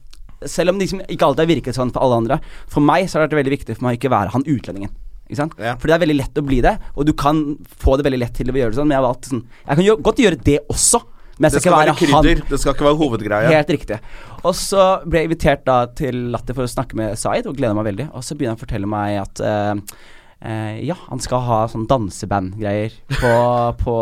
Selv om det liksom ikke alltid har virket sånn for alle andre. For meg så har det vært veldig viktig for meg å ikke være han utlendingen. Ikke sant?
Ja.
For det er veldig lett å bli det, og du kan få det veldig lett til å gjøre det sånn. Men jeg har valgt sånn Jeg kan gjø godt gjøre det også,
Det
men jeg skal ikke
skal være
være,
krydder,
han.
det skal ikke være hovedgreia.
Helt riktig. Og så ble jeg invitert da til Latter for å snakke med Zaid, og gleder meg veldig. Og så begynner han å fortelle meg at eh, eh, ja, han skal ha sånn dansebandgreier på, på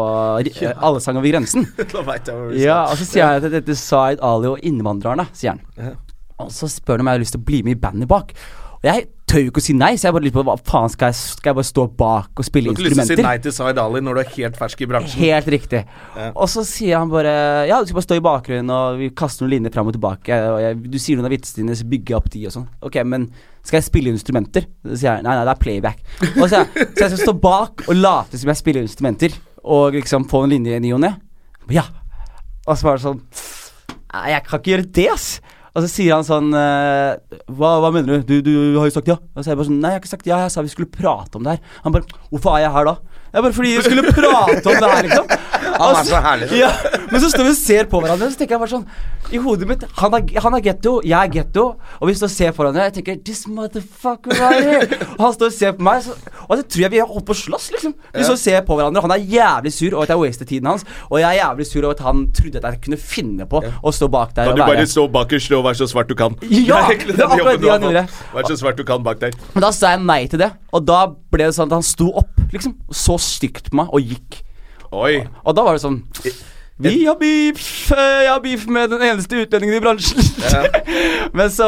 eh, Alle sang over grensen.
Da vet jeg hva vi skal.
Ja, og så sier han at dette er Zaid Ali og Innvandrerne, sier han. Og så spør han om jeg har lyst til å bli med i bandet bak. Og jeg tør jo ikke å si nei, så jeg bare lurer på hva faen skal jeg, skal jeg bare stå bak og
Du
spille
har ikke lyst til å si
instrumenter?
nei til Zaid Ali når du er helt fersk i bransjen.
Helt riktig. Og så sier han bare Ja, du skal bare stå i bakgrunnen, og vi kaster noen linjer fram og tilbake, og jeg, du sier noen av vitsene dine, så bygger jeg opp de og sånn. Ok, men skal jeg spille instrumenter? Så sier jeg nei, nei, det er playback. Og så, sier jeg, så jeg skal stå bak og late som jeg spiller instrumenter, og liksom få en linje i ny og ne? Ja. Og så var det sånn Nei, jeg kan ikke gjøre det, ass. Og så sier han sånn eh, hva, hva mener du? du? Du har jo sagt ja. Og så er jeg bare sånn Nei, jeg har ikke sagt ja. Jeg sa vi skulle prate om det her. Han bare Hvorfor er jeg her da? Jeg bare fordi vi skulle prate om det her, liksom.
Han er
Og
så herlig, da.
Ja, men så står vi og ser på hverandre, og så tenker jeg bare sånn I hodet mitt Han er, han er getto, jeg er getto, og vi står og ser på hverandre. Jeg tenker This motherfucker right here. Og han står og ser på meg, så, og så tror jeg vi holder på å slåss, liksom. Vi står og ser på hverandre, og han er jævlig sur over at jeg wastet tiden hans, og jeg er jævlig sur over at han trodde at jeg kunne finne på å stå bak der
Kan
og
du
være
bare stå bakerst og være så svart du kan?
Ja,
er egentlig
det er
den jobben
akkurat det
du har
han gjorde.
fått. Vær så svart du kan bak der.
Men da sa jeg nei til det, og da ble det sånn at han sto opp, liksom, og så stygt på meg og gikk.
Oi.
Og da var det sånn Vi har beef! eh, Jeg har beef med den eneste utlendingen i bransjen. Men så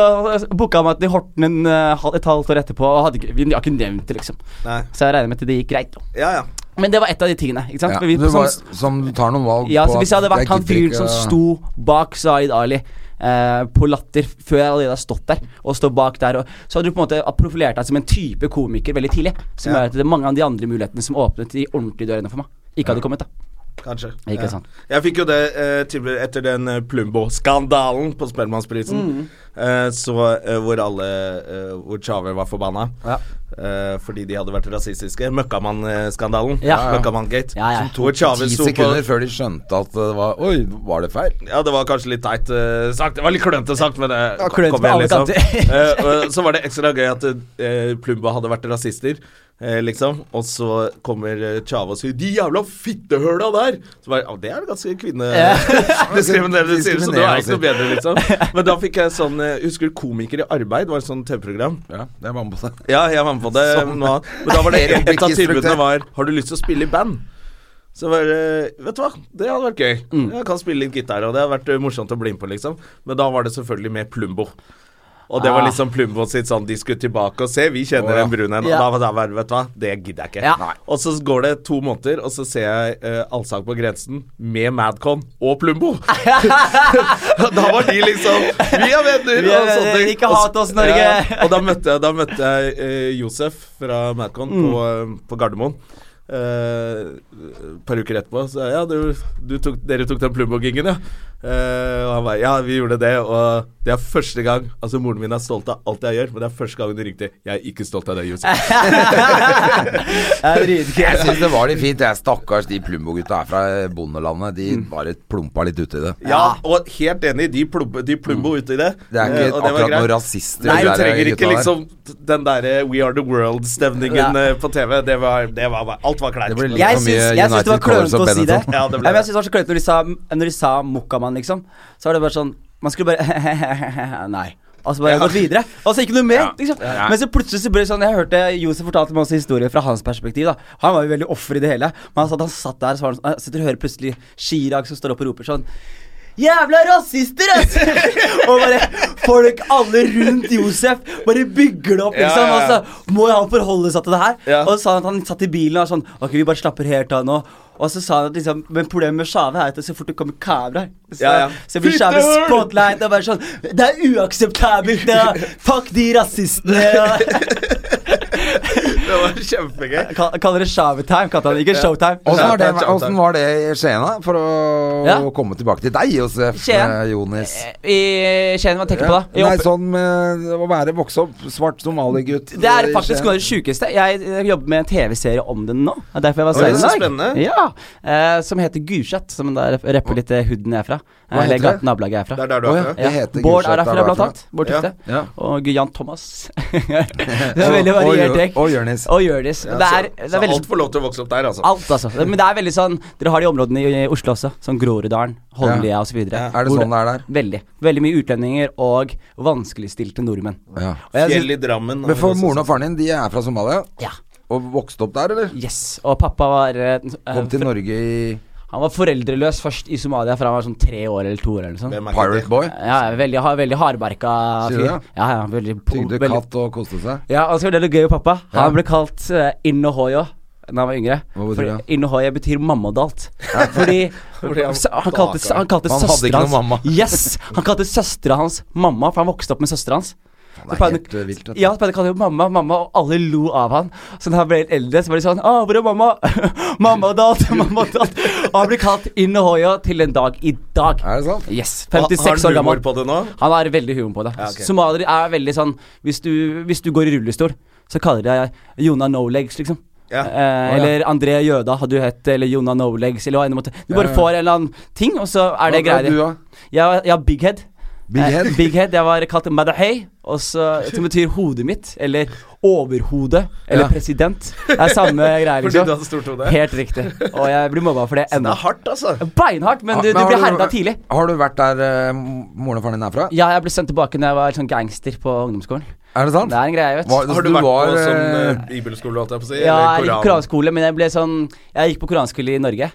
booka han meg til Horten en, eh, hal- et halvt år etterpå, og hadde ikke, vi har ikke nevnt det, liksom.
Nei.
Så jeg regner med at det gikk greit. da.
Ja, ja.
Men det var et av de tingene. ikke sant?
Ja,
For vi,
du
som-
var, som du tar noen valg
ja, så
på
Hvis jeg hadde vært han fyren som sto bak Zaid Ali eh, på Latter før jeg allerede har stått der, og står bak der, og, så hadde du på en måte profilert deg som en type komiker veldig tidlig. Som gjør at det er mange av de andre mulighetene som åpnet de ordentlige dørene for meg, ikke hadde kommet. da
Kanskje.
Ikke
ja.
sant.
Jeg fikk jo det eh, tilbud etter den eh, Plumbo-skandalen på Spellemannsprisen.
Mm.
Eh, så, eh, hvor alle eh, Hvor Tjave var forbanna.
Ja.
Eh, fordi de hadde vært rasistiske. Møkkamann-skandalen.
Ja.
Møkkamann-gate.
Ja, ja.
Hvor Tjave
Ti
sto på
sekunder før de skjønte at det var Oi, var det feil?
ja, det var kanskje litt teit eh, sagt. Det var litt klønete sagt, men det
Ja, klønete
kom
på alle
igjen, liksom.
kanter.
Eh, og så var det ekstra gøy at eh, Plumba hadde vært rasister, eh, liksom. Og så kommer eh, Tjave og sier 'de jævla fittehøla der'! Så bare, ja, Det er ganske kvinnediskriminerende, sier du, så du er
altså.
ikke noe bedre, liksom. Men da fikk jeg sånn eh, Husker du Komiker i arbeid? var et sånt TV-program.
Ja, det var med på seg.
Ja, jeg var med på det.
Som-
nå. Men da var det
Erik
et av
Blikk-instruktør.
tilbudene var Har du lyst til å spille i band? Så var det Vet du hva, det hadde vært gøy.
Mm.
Jeg kan spille litt gitar, og det hadde vært eh, morsomt å bli med på, liksom. Men da var det selvfølgelig med Plumbo. Og det var liksom Plumbo sitt sånn De skulle tilbake og se, vi kjenner
Ah. Å, ja.
den brune en. Og
Ja.
da var det bare, vet du hva, det gidder jeg ikke.
Ja. Nei.
Og så går det to måneder, og så ser jeg eh, Allsang på grensen med Madcon og Plumbo. da var de liksom Vi er venner!
Vi er
og sånne
venner,
ting.
ikke
Og så-
hat oss, Norge.
Ja, og da møtte jeg, da møtte jeg eh, Josef fra Madcon på,
Mm.
eh, på Gardermoen. Eh, et par uker etterpå så jeg, ja, du, du tok, dere tok den Plumbo-gingen, ja. Eh, og han bare ja, vi gjorde det, og det er første gang Altså, moren min er stolt av alt jeg gjør, men det er første gang hun ringte. Jeg er ikke stolt av deg, Josef.
Jeg syns det var litt fint. Jeg, stakkars de Plumbo-gutta her fra bondelandet. De
Mm.
bare plumpa litt uti det.
Ja, og helt enig, de, plumbo- de plumbo uti det.
Mm. Det er
eh,
ikke
og var
akkurat
greit.
noen rasister.
Nei,
de
du
der
trenger
gutta
ikke
der.
liksom den derre We are the world-stemningen
Ja.
eh, på TV. Det var, det var bare- Alt var kleint.
Det blir litt-
Jeg
for
syns,
mye
jeg syns det var
United Colors
klønete
og
å si det.
Benetton.
Ja, det ble
Nei, men
det.
jeg syns det var så klønete når de sa, når de sa Mokkamann, liksom. Så var det bare sånn Man skulle bare Nei. Og så bare gått videre. Og så ikke noe mer. Liksom. Men så plutselig så ble det sånn Jeg hørte Josef fortalte masse historier fra hans perspektiv. da Han var jo veldig offer i det hele. Men han satt, han satt der og så var han, sånn- han sitter og hører plutselig Chirag som står opp og roper sånn Jævla rasister, ass! og bare folk alle rundt Josef bare bygger det opp,
Ja,
liksom.
ja, ja.
Og så må jo han forholde seg til det her.
Ja.
Og så sa han at han satt i bilen og var sånn Ok, vi bare slapper helt av nå. Og så sa han at liksom Men problemet med Shave er at så fort det kommer kamera så,
Ja, ja.
så blir Shave
Fitte!
spotlight og bare sånn Det er uakseptabelt! Det er, fuck de rasistene! Ja.
Det var kjempegøy.
Kall- Kaller det Shave-time, kalte han det, ikke Showtime.
Åssen var, det-
Shoutout, shoutout.
åssen var det i Skien, da? For å
Ja.
komme tilbake til deg, Josef
Skien.
eh, Jonis.
I Skien, hva tenker du på da? I
Nei,
opp-
sånn med å være vokse opp svart somaligutt eh,
Det er
i
faktisk
Skien.
noe av det sjukeste. Jeg eh, jobber med en TV-serie om den nå. Det er derfor jeg var
Oi,
sen i
så
dag.
spennende.
Ja, eh, som heter Gulset. Som da rep- rapper litt eh, hooden jeg er fra. Eh,
Hva heter
Eller
det?
ga- nabolaget jeg er fra.
Det er der du
Å,
er
ja.
fra.
Det heter
Bård
Gulset,
er
der
derfra,
var
blant annet. Bård
Ja.
Tufte.
Ja.
Og Jan Thomas. det er veldig
Og- og
variert
Jør-
trekk.
og Jørnis.
Og Jørnis. Men det er, det
Altså, Så
er veldig
alt får lov til å vokse opp der, altså.
Alt, altså. Det- Men det er veldig sånn Dere har de områdene i i Oslo også. Sånn Groruddalen, Holmlia osv.
Er det sånn det er der?
Veldig. Veldig mye utlendinger og vanskeligstilte nordmenn.
Ja.
Og jeg
Fjell
synes-
i Drammen. altså,
Men for moren og faren din, de er fra Somalia?
Ja.
Og vokste opp der, eller?
Yes. Og pappa var eh, eh,
Kom til Norge i
Han var foreldreløs først i Somalia fra han var sånn tre år eller to år. eller noe sånt.
Hvem er ikke det?
Pirate Boy.
Ja, ja, veldig, ha- veldig hardbarka
Sier du
fyr.
det?
Ja, ja, veldig,
Tygde
veldig-
katt og koste seg.
Ja, og så var det litt gøy med pappa.
Ja.
Han ble kalt uh, Innohoyo da han var yngre.
Hva betyr
For
det?
Innohoyo betyr mamma og dalt. Fordi
han-
så han kalte,
Stakkar.
han kalte
Han hadde ikke
søstera hans
noe mamma.
Yes! Han kalte søstera hans mamma, for han vokste opp med søstera hans.
Det
Så
er
pleide-
helt eh, vilt. vet du.
Ja, så pleide han å kalle henne mamma, mamma, og alle lo av han. Så da han ble litt eldre, så var de sånn Å, hvor er mamma? mamma og dalt, mamma og dalt. Og han ble kalt Innohoyo til en dag i dag.
Er det sant?
Yes.
Har
56
han
år gammel.
humor på det nå?
Han har veldig humor på det.
Ja, ok.
Somaliere er veldig sånn hvis du, hvis du går i rullestol, så kaller de deg Jona No Legs, liksom.
Ja.
Eh, Eller André Jøda hadde du hett, eller Jona No Legs, eller hva enn det måtte Du bare
Ja, ja.
får en eller annen ting, og så er det
Hva er
greier.
du, da?
Jeg, jeg har Big Head.
Big
Eh,
Head?
Big Head, Jeg var kalt Madahei, og så- som betyr hodet mitt, eller overhode, eller
Ja.
president. Det er samme greier,
Fordi du
liksom.
hadde stort hode?
Helt riktig. Og jeg blir mobba for det
Det
ennå.
er hardt, altså.
Beinhardt, men du,
Ja,
du
har
blir herda tidlig.
Har du vært der eh, moren og faren din er fra?
Ja, jeg ble sendt tilbake når jeg var sånn gangster på ungdomsskolen.
Er det sant?
Det er en greie, vet
Var-
Har du,
du
vært
var,
på sånn
eh,
eh, bibelskole, holdt jeg på å si?
Ja,
eller
jeg gikk
koran?
koranskole, men jeg ble sånn Jeg gikk på koranskole i Norge.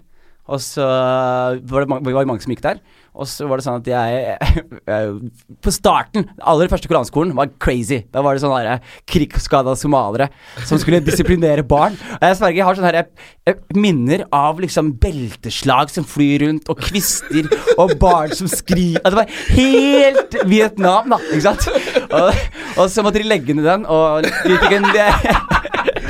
Og så var det, mange, var det mange som gikk der. Og så var det sånn at jeg På starten, den aller første koranskolen, var crazy. Da var det sånne her krigsskada somaliere som skulle disiplinere barn. Og jeg sverger, jeg har sånne her eh, minner av liksom belteslag som flyr rundt, og kvister, og barn som skriver Det var helt Vietnam, da, ikke sant? Og, og så måtte de legge ned den, og vi fikk en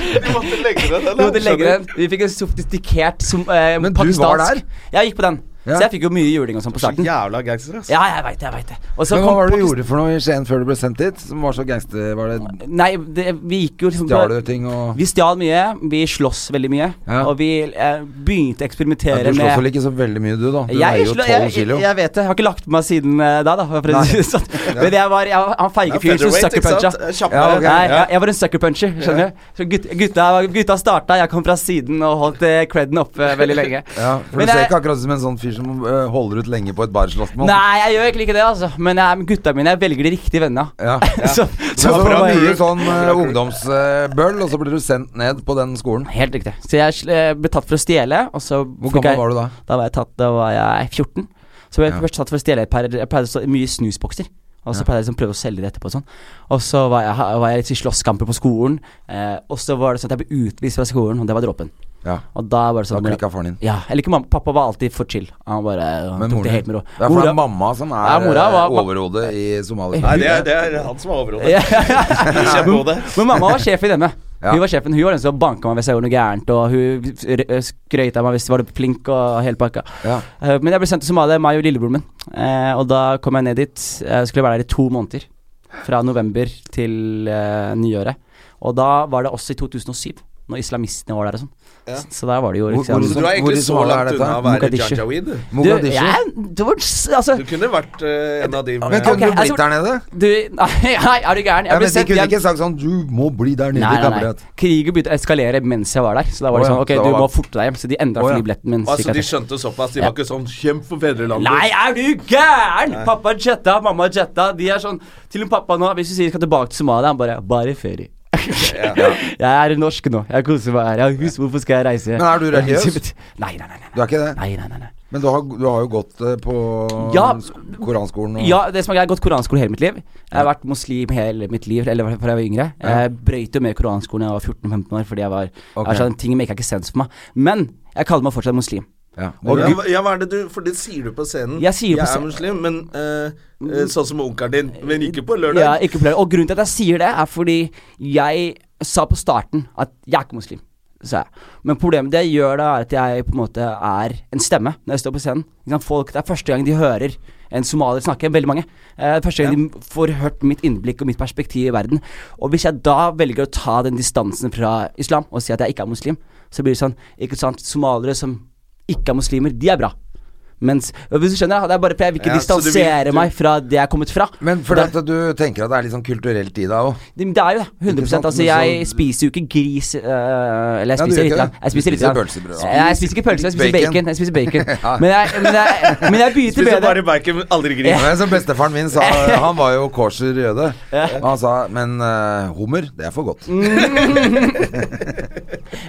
Du måtte legge deg den.
jo, det legger
skjønner.
den. Vi fikk en sofistikert som, eh,
Men du
pakistansk
var der?
Jeg gikk på den.
Ja.
Så jeg fikk jo mye juling og sånn på starten. Ja,
Jævla gangster, ass.
jeg veit det, jeg vet det. Og så
Men hva
kom
var det du
Pakistan-
gjorde for noe i Skien før du ble sendt dit? Som var så gangster... Var det
Nei, det, vi gikk jo liksom på-
Stjal du ting og
Vi stjal mye, vi sloss veldig mye,
Ja.
og vi eh, begynte å eksperimentere
ja, Du slåss vel
med
ikke så veldig mye, du, da? Du veier
jeg,
jo
slå- jeg,
12 kilo.
jeg vet det. Jeg har ikke lagt på meg siden eh, da, da. For å si det sånn. Men jeg var, jeg var han feige fyren som
Featherweight, ikke
suckerpuncha.
sant? Kjappe.
Ja, ok.
Nei,
Ja.
jeg, jeg var en sucker puncher, skjønner du. Så gut, gutta, gutta starta, jeg kom fra siden og holdt eh, creden oppe veldig lenge.
Ja, for
Men
du ser
jeg-
ikke akkurat ut som en sånn fyr som øh, holder ut lenge på et barslåssmål.
Nei, jeg gjør egentlig ikke det, altså. Men jeg, gutta mine, jeg velger de riktige vennene.
Ja. Så
så, så
får
for
du
meg-
mye sånn øh, ungdomsbøll, og så blir du sendt ned på den skolen.
Helt riktig. Så jeg sl- eh, ble tatt for å stjele, og så
Hvor gammel
jeg,
var du da?
Da var jeg tatt, da var jeg 14. Så ble jeg
Ja.
først tatt for å stjele et par Jeg pleide å stå i mye snusbokser. Og så pleide jeg liksom å prøve å selge det etterpå og sånn. Og så var jeg, var jeg litt i slåsskamper på skolen. Eh, og så var det sånn at jeg ble utvist fra skolen, og det var dråpen.
Ja.
Og da var det sånn
Da klikket faren din.
Ja, eller ikke mamma. Pappa var alltid for chill. Han bare han
Men
tok
moren
det helt
din Det
med ro.
er for det
Mora-
er mamma som er
Ja, mora var-
eh, overhodet i Somalia.
Nei, det er, det er han som er overhodet.
Ja.
Kjempehodet.
Men mamma var sjef i denne.
Ja.
Hun var sjefen, hun var den som banka meg hvis jeg gjorde noe gærent, og hun r- skrøt av meg hvis jeg var flink og hele pakka.
Ja.
Eh, Men jeg ble sendt til Somalia, meg og lillebroren min. Eh, og da kom jeg ned dit. Eh, Jeg skulle være der i to måneder. Fra november til eh, nyåret. Og da var det også i 2007, når islamistene var der og sånn. Så, så der var det jo
Hvor-
liksom-
Så
hvor-
Altså, du er
Hvor i
egentlig så
Somalia er
langt
dette?
unna å være
Mogadishu.
Janjaweed. du.
du,
Mogadishu.
ja, det var, altså,
Du kunne vært eh, en av de
Men
med
kunne
Ok,
du blitt
altså-
der nede?
du, nei, nei, er du
Ja,
gæren? Jeg ble
men de
sendt
kunne
hjem.
ikke sagt sånn Du må bli der nede,
Nei, nei, nei.
kamerat.
Krigen begynte å eskalere mens jeg var der. Så da var
Å
det
ja,
sånn Ok,
så da
du
var-
må forte deg hjem. Så de endra
Å ja.
flybilletten min.
Altså,
cirka
de
etter.
skjønte såpass. De var ikke sånn 'kjemp for fedrelandet'.
Nei, er du gæren?! Pappa jetta, mamma jetta. De er sånn Til og med pappa nå, hvis du sier skal tilbake til Somalia, han bare Bare ferie. jeg er norsk nå. Jeg koser meg her. Jeg har hus, hvorfor skal jeg reise?
Men er du religiøs?
Nei, nei, nei. nei.
Du er ikke det?
nei, nei, nei, nei.
Men du har, du har jo gått eh, på
Ja.
sk- koranskolen og
Ja, det som er greit, jeg har gått koranskole hele mitt liv. Jeg har vært muslim hele mitt liv, eller i hvert fall fra jeg var yngre. Jeg brøyt jo med koranskolen da jeg var 14-15 år, fordi jeg var
Ok.
jeg var sånn, Ting maker ikke sens for meg. Men jeg kaller meg fortsatt muslim.
Ja.
Og
Ja,
du-
hva- ja, hva er det du For det sier du på scenen.
Jeg sier jo på
er
scenen.
muslim, men eh, eh, sånn som onkelen din. Men ikke på lørdag.
Ja, ikke flere. Og grunnen til at jeg sier det, er fordi jeg sa på starten at jeg er ikke muslim. Sa jeg. Men problemet det jeg gjør da, er at jeg på en måte er en stemme når jeg står på scenen. Ikke sant? Folk, det er første gang de hører en somalier snakke, veldig mange. Eh, første gang de får hørt mitt innblikk og mitt perspektiv i verden. Og hvis jeg da velger å ta den distansen fra islam og si at jeg ikke er muslim, så blir det sånn Ikke sant, somaliere som ikke er muslimer, de er bra. Mens, hvis du skjønner, det er bare fordi jeg vil ikke
Ja, så du vil-
distansere
du-
meg fra det jeg er kommet fra.
Men fordi
Det-
at du tenker at det er litt sånn kulturelt i deg òg?
det, det er jo det. 100
Ikke sant?
Altså,
Men
jeg
så-
spiser jo ikke gris øh, Eller jeg
Ja, du gjør
spiser litt.
ikke
grann.
det.
Jeg
Du
spiser litt.
spiser
grann.
pølsebrød, da.
Jeg spiser ikke pølse, jeg spiser
Bacon.
bacon. Jeg spiser bacon.
Ja.
Men jeg, men jeg, men jeg begynte
Spiser bare
bedre.
bacon, men aldri gris.
Men som bestefaren min sa Han var jo korser jøde. Og han sa Men eh, hummer, det er for godt.
Mm.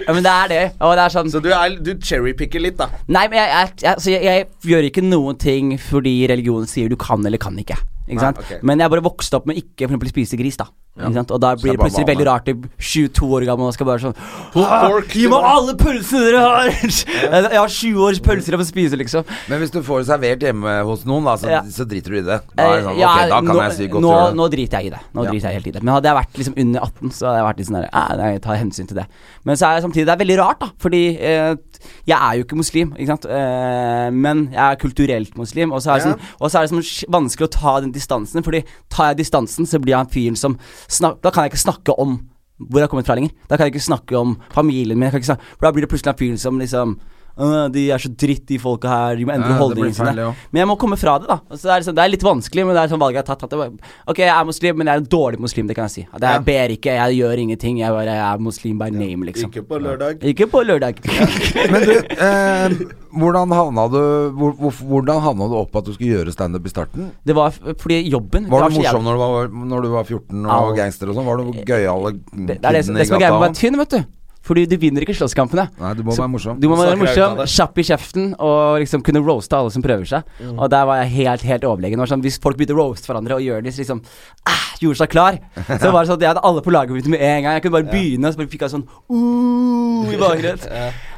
Ja, men det er det. Og det er sånn
Så du, er, du cherrypicker litt, da.
Nei, men jeg, jeg, jeg, altså, jeg, jeg gjør ikke noen ting fordi religionen sier du kan eller kan ikke. Ikke sant?
ok.
Men jeg bare vokste opp med ikke for eksempel spise gris, da. Ikke sant? Og da
det
blir
er
det
bare
plutselig
vanlig.
veldig rart til 22 år gammel og skal bare sånn
Pulled
«Åh,
pork,
Gi
du
meg
bare-
alle pølsene dere har! jeg har 20 års pølser jeg får spise, liksom.
Men hvis du får det servert hjemme hos noen, da, så,
Ja.
så driter du i det. Da, er det sånn,
Eh, ja,
ok, da kan
nå,
jeg si godt
nå,
gjøre det.
nå driter jeg i det. Nå
Ja.
driter jeg helt i det Men hadde jeg vært liksom under 18, så hadde jeg vært litt sånn der eh, Nei, jeg tar hensyn til det. Men så er det samtidig Det er veldig rart, da. Fordi eh, jeg er jo ikke muslim, ikke sant. Eh, men jeg er kulturelt muslim. Og så er det,
Ja.
sånn, og så er det sånn sk- vanskelig å ta den distansen. Fordi tar jeg distansen, så blir jeg han fyren som snak, Da kan jeg ikke snakke om hvor jeg har kommet fra lenger. Da kan jeg ikke snakke om familien min. Jeg kan ikke snakke, for da blir det plutselig han fyren som liksom «Åh, de er så dritt, de folka her. De må endre
Ja, det blir
holdningene sine.
feil, ja.
Men jeg må komme fra det, da. Og Så det, er liksom, det er litt vanskelig, men det er sånn valget jeg har tatt. At det bare, ok, jeg er muslim, men jeg er en dårlig muslim, det kan jeg si. At jeg ber ikke, jeg gjør ingenting. Jeg bare jeg er muslim by name, liksom.
Ikke på lørdag.
Ikke på lørdag.
Men du, eh, hvordan, havna du hvor, hvor, hvordan havna du opp på at du skulle gjøre standup i starten?
det var f- fordi jobben
Var
det
du
så jævlig-
morsom når du var, når du var 14 og
Au.
gangster og sånn? Var du gøyal
Det, det er det, som- det som er greia med å være tynn, vet du. Fordi du vinner ikke slåsskampene.
Nei, du må
Så
være morsom.
Du må være
Snakker deg ut av
morsom,
det.
kjapp i kjeften og liksom kunne roaste alle som prøver seg. Og der var jeg helt helt overlegen. Det var Sånn, hvis folk begynte å roaste hverandre og Jonis liksom ah, gjorde seg klar, så var det sånn at jeg hadde alle på laget mitt med en gang. Jeg kunne bare begynne, og så bare fikk jeg sånn uh, i bakgrunnen.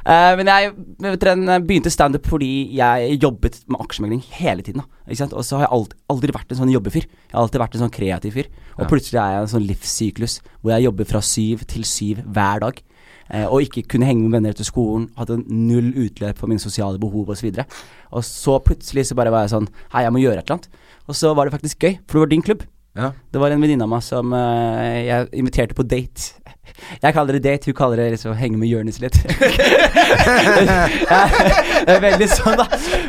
Eh, men jeg vet dere, en, eh, begynte standup fordi jeg jobbet med aksjemegling hele tiden. da ikke sant? Og så har jeg aldri, aldri vært en sånn jobbefyr. Jeg har alltid vært en sånn kreativ fyr. Og plutselig er jeg i en sånn livssyklus hvor jeg jobber fra syv til syv hver dag. Eh, og ikke kunne henge med venner etter skolen, hadde null utløp for mine sosiale behov osv. Og så plutselig så bare var jeg sånn Hei, jeg må gjøre et eller annet. Og så var det faktisk gøy, for det var din klubb.
Ja.
Det var en venninne av meg som eh, jeg inviterte på date. Jeg kaller det date, hun kaller det liksom henge med Jonis litt. Det er Veldig sånn, da.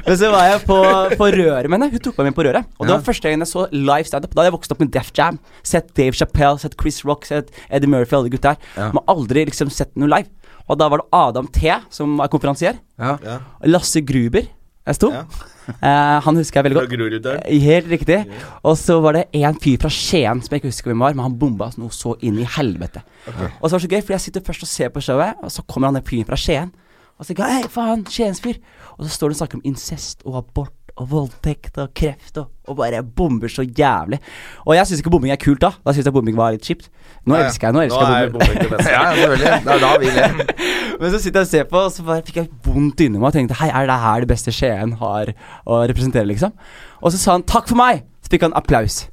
Men så var jeg på, på røret med henne. Hun tok meg med på røret. Og det var første gangen jeg så live standup. Da hadde jeg vokst opp med Def Jam. Sett Dave Chappelle, sett Chris Rock, sett Eddie Murphy, alle de gutta her. Men aldri liksom sett noe live. Og da var det Adam T, som er konferansier.
Ja.
Ja.
Lasse Gruber. Jeg sto.
Ja.
Eh, han husker jeg veldig
Fra
godt.
Groruddalen.
Eh, Helt riktig. Og så var det en fyr fra Skien som jeg ikke husker hvem var, men han bomba noe så inn i helvete. Og så var det så gøy, for jeg sitter først og ser på showet, og så kommer han den fyren fra Skien. Og så tenker jeg hei, faen, Skiens fyr. Og så står han og snakker om incest og abort og voldtekt og kreft og, og bare bomber så jævlig. Og jeg syns ikke bombing er kult da. Da syns jeg bombing var litt kjipt. Nå
Ja, ja.
elsker jeg nå elsker
Nå er
jeg bombing.
bombing det beste.
Ja, selvfølgelig. Det er da vi ler.
Men så sitter jeg og ser på, og så bare fikk jeg vondt inni meg og tenkte hei, er det her det beste Skien har å representere, liksom? Og så sa han takk for meg! Så fikk han applaus.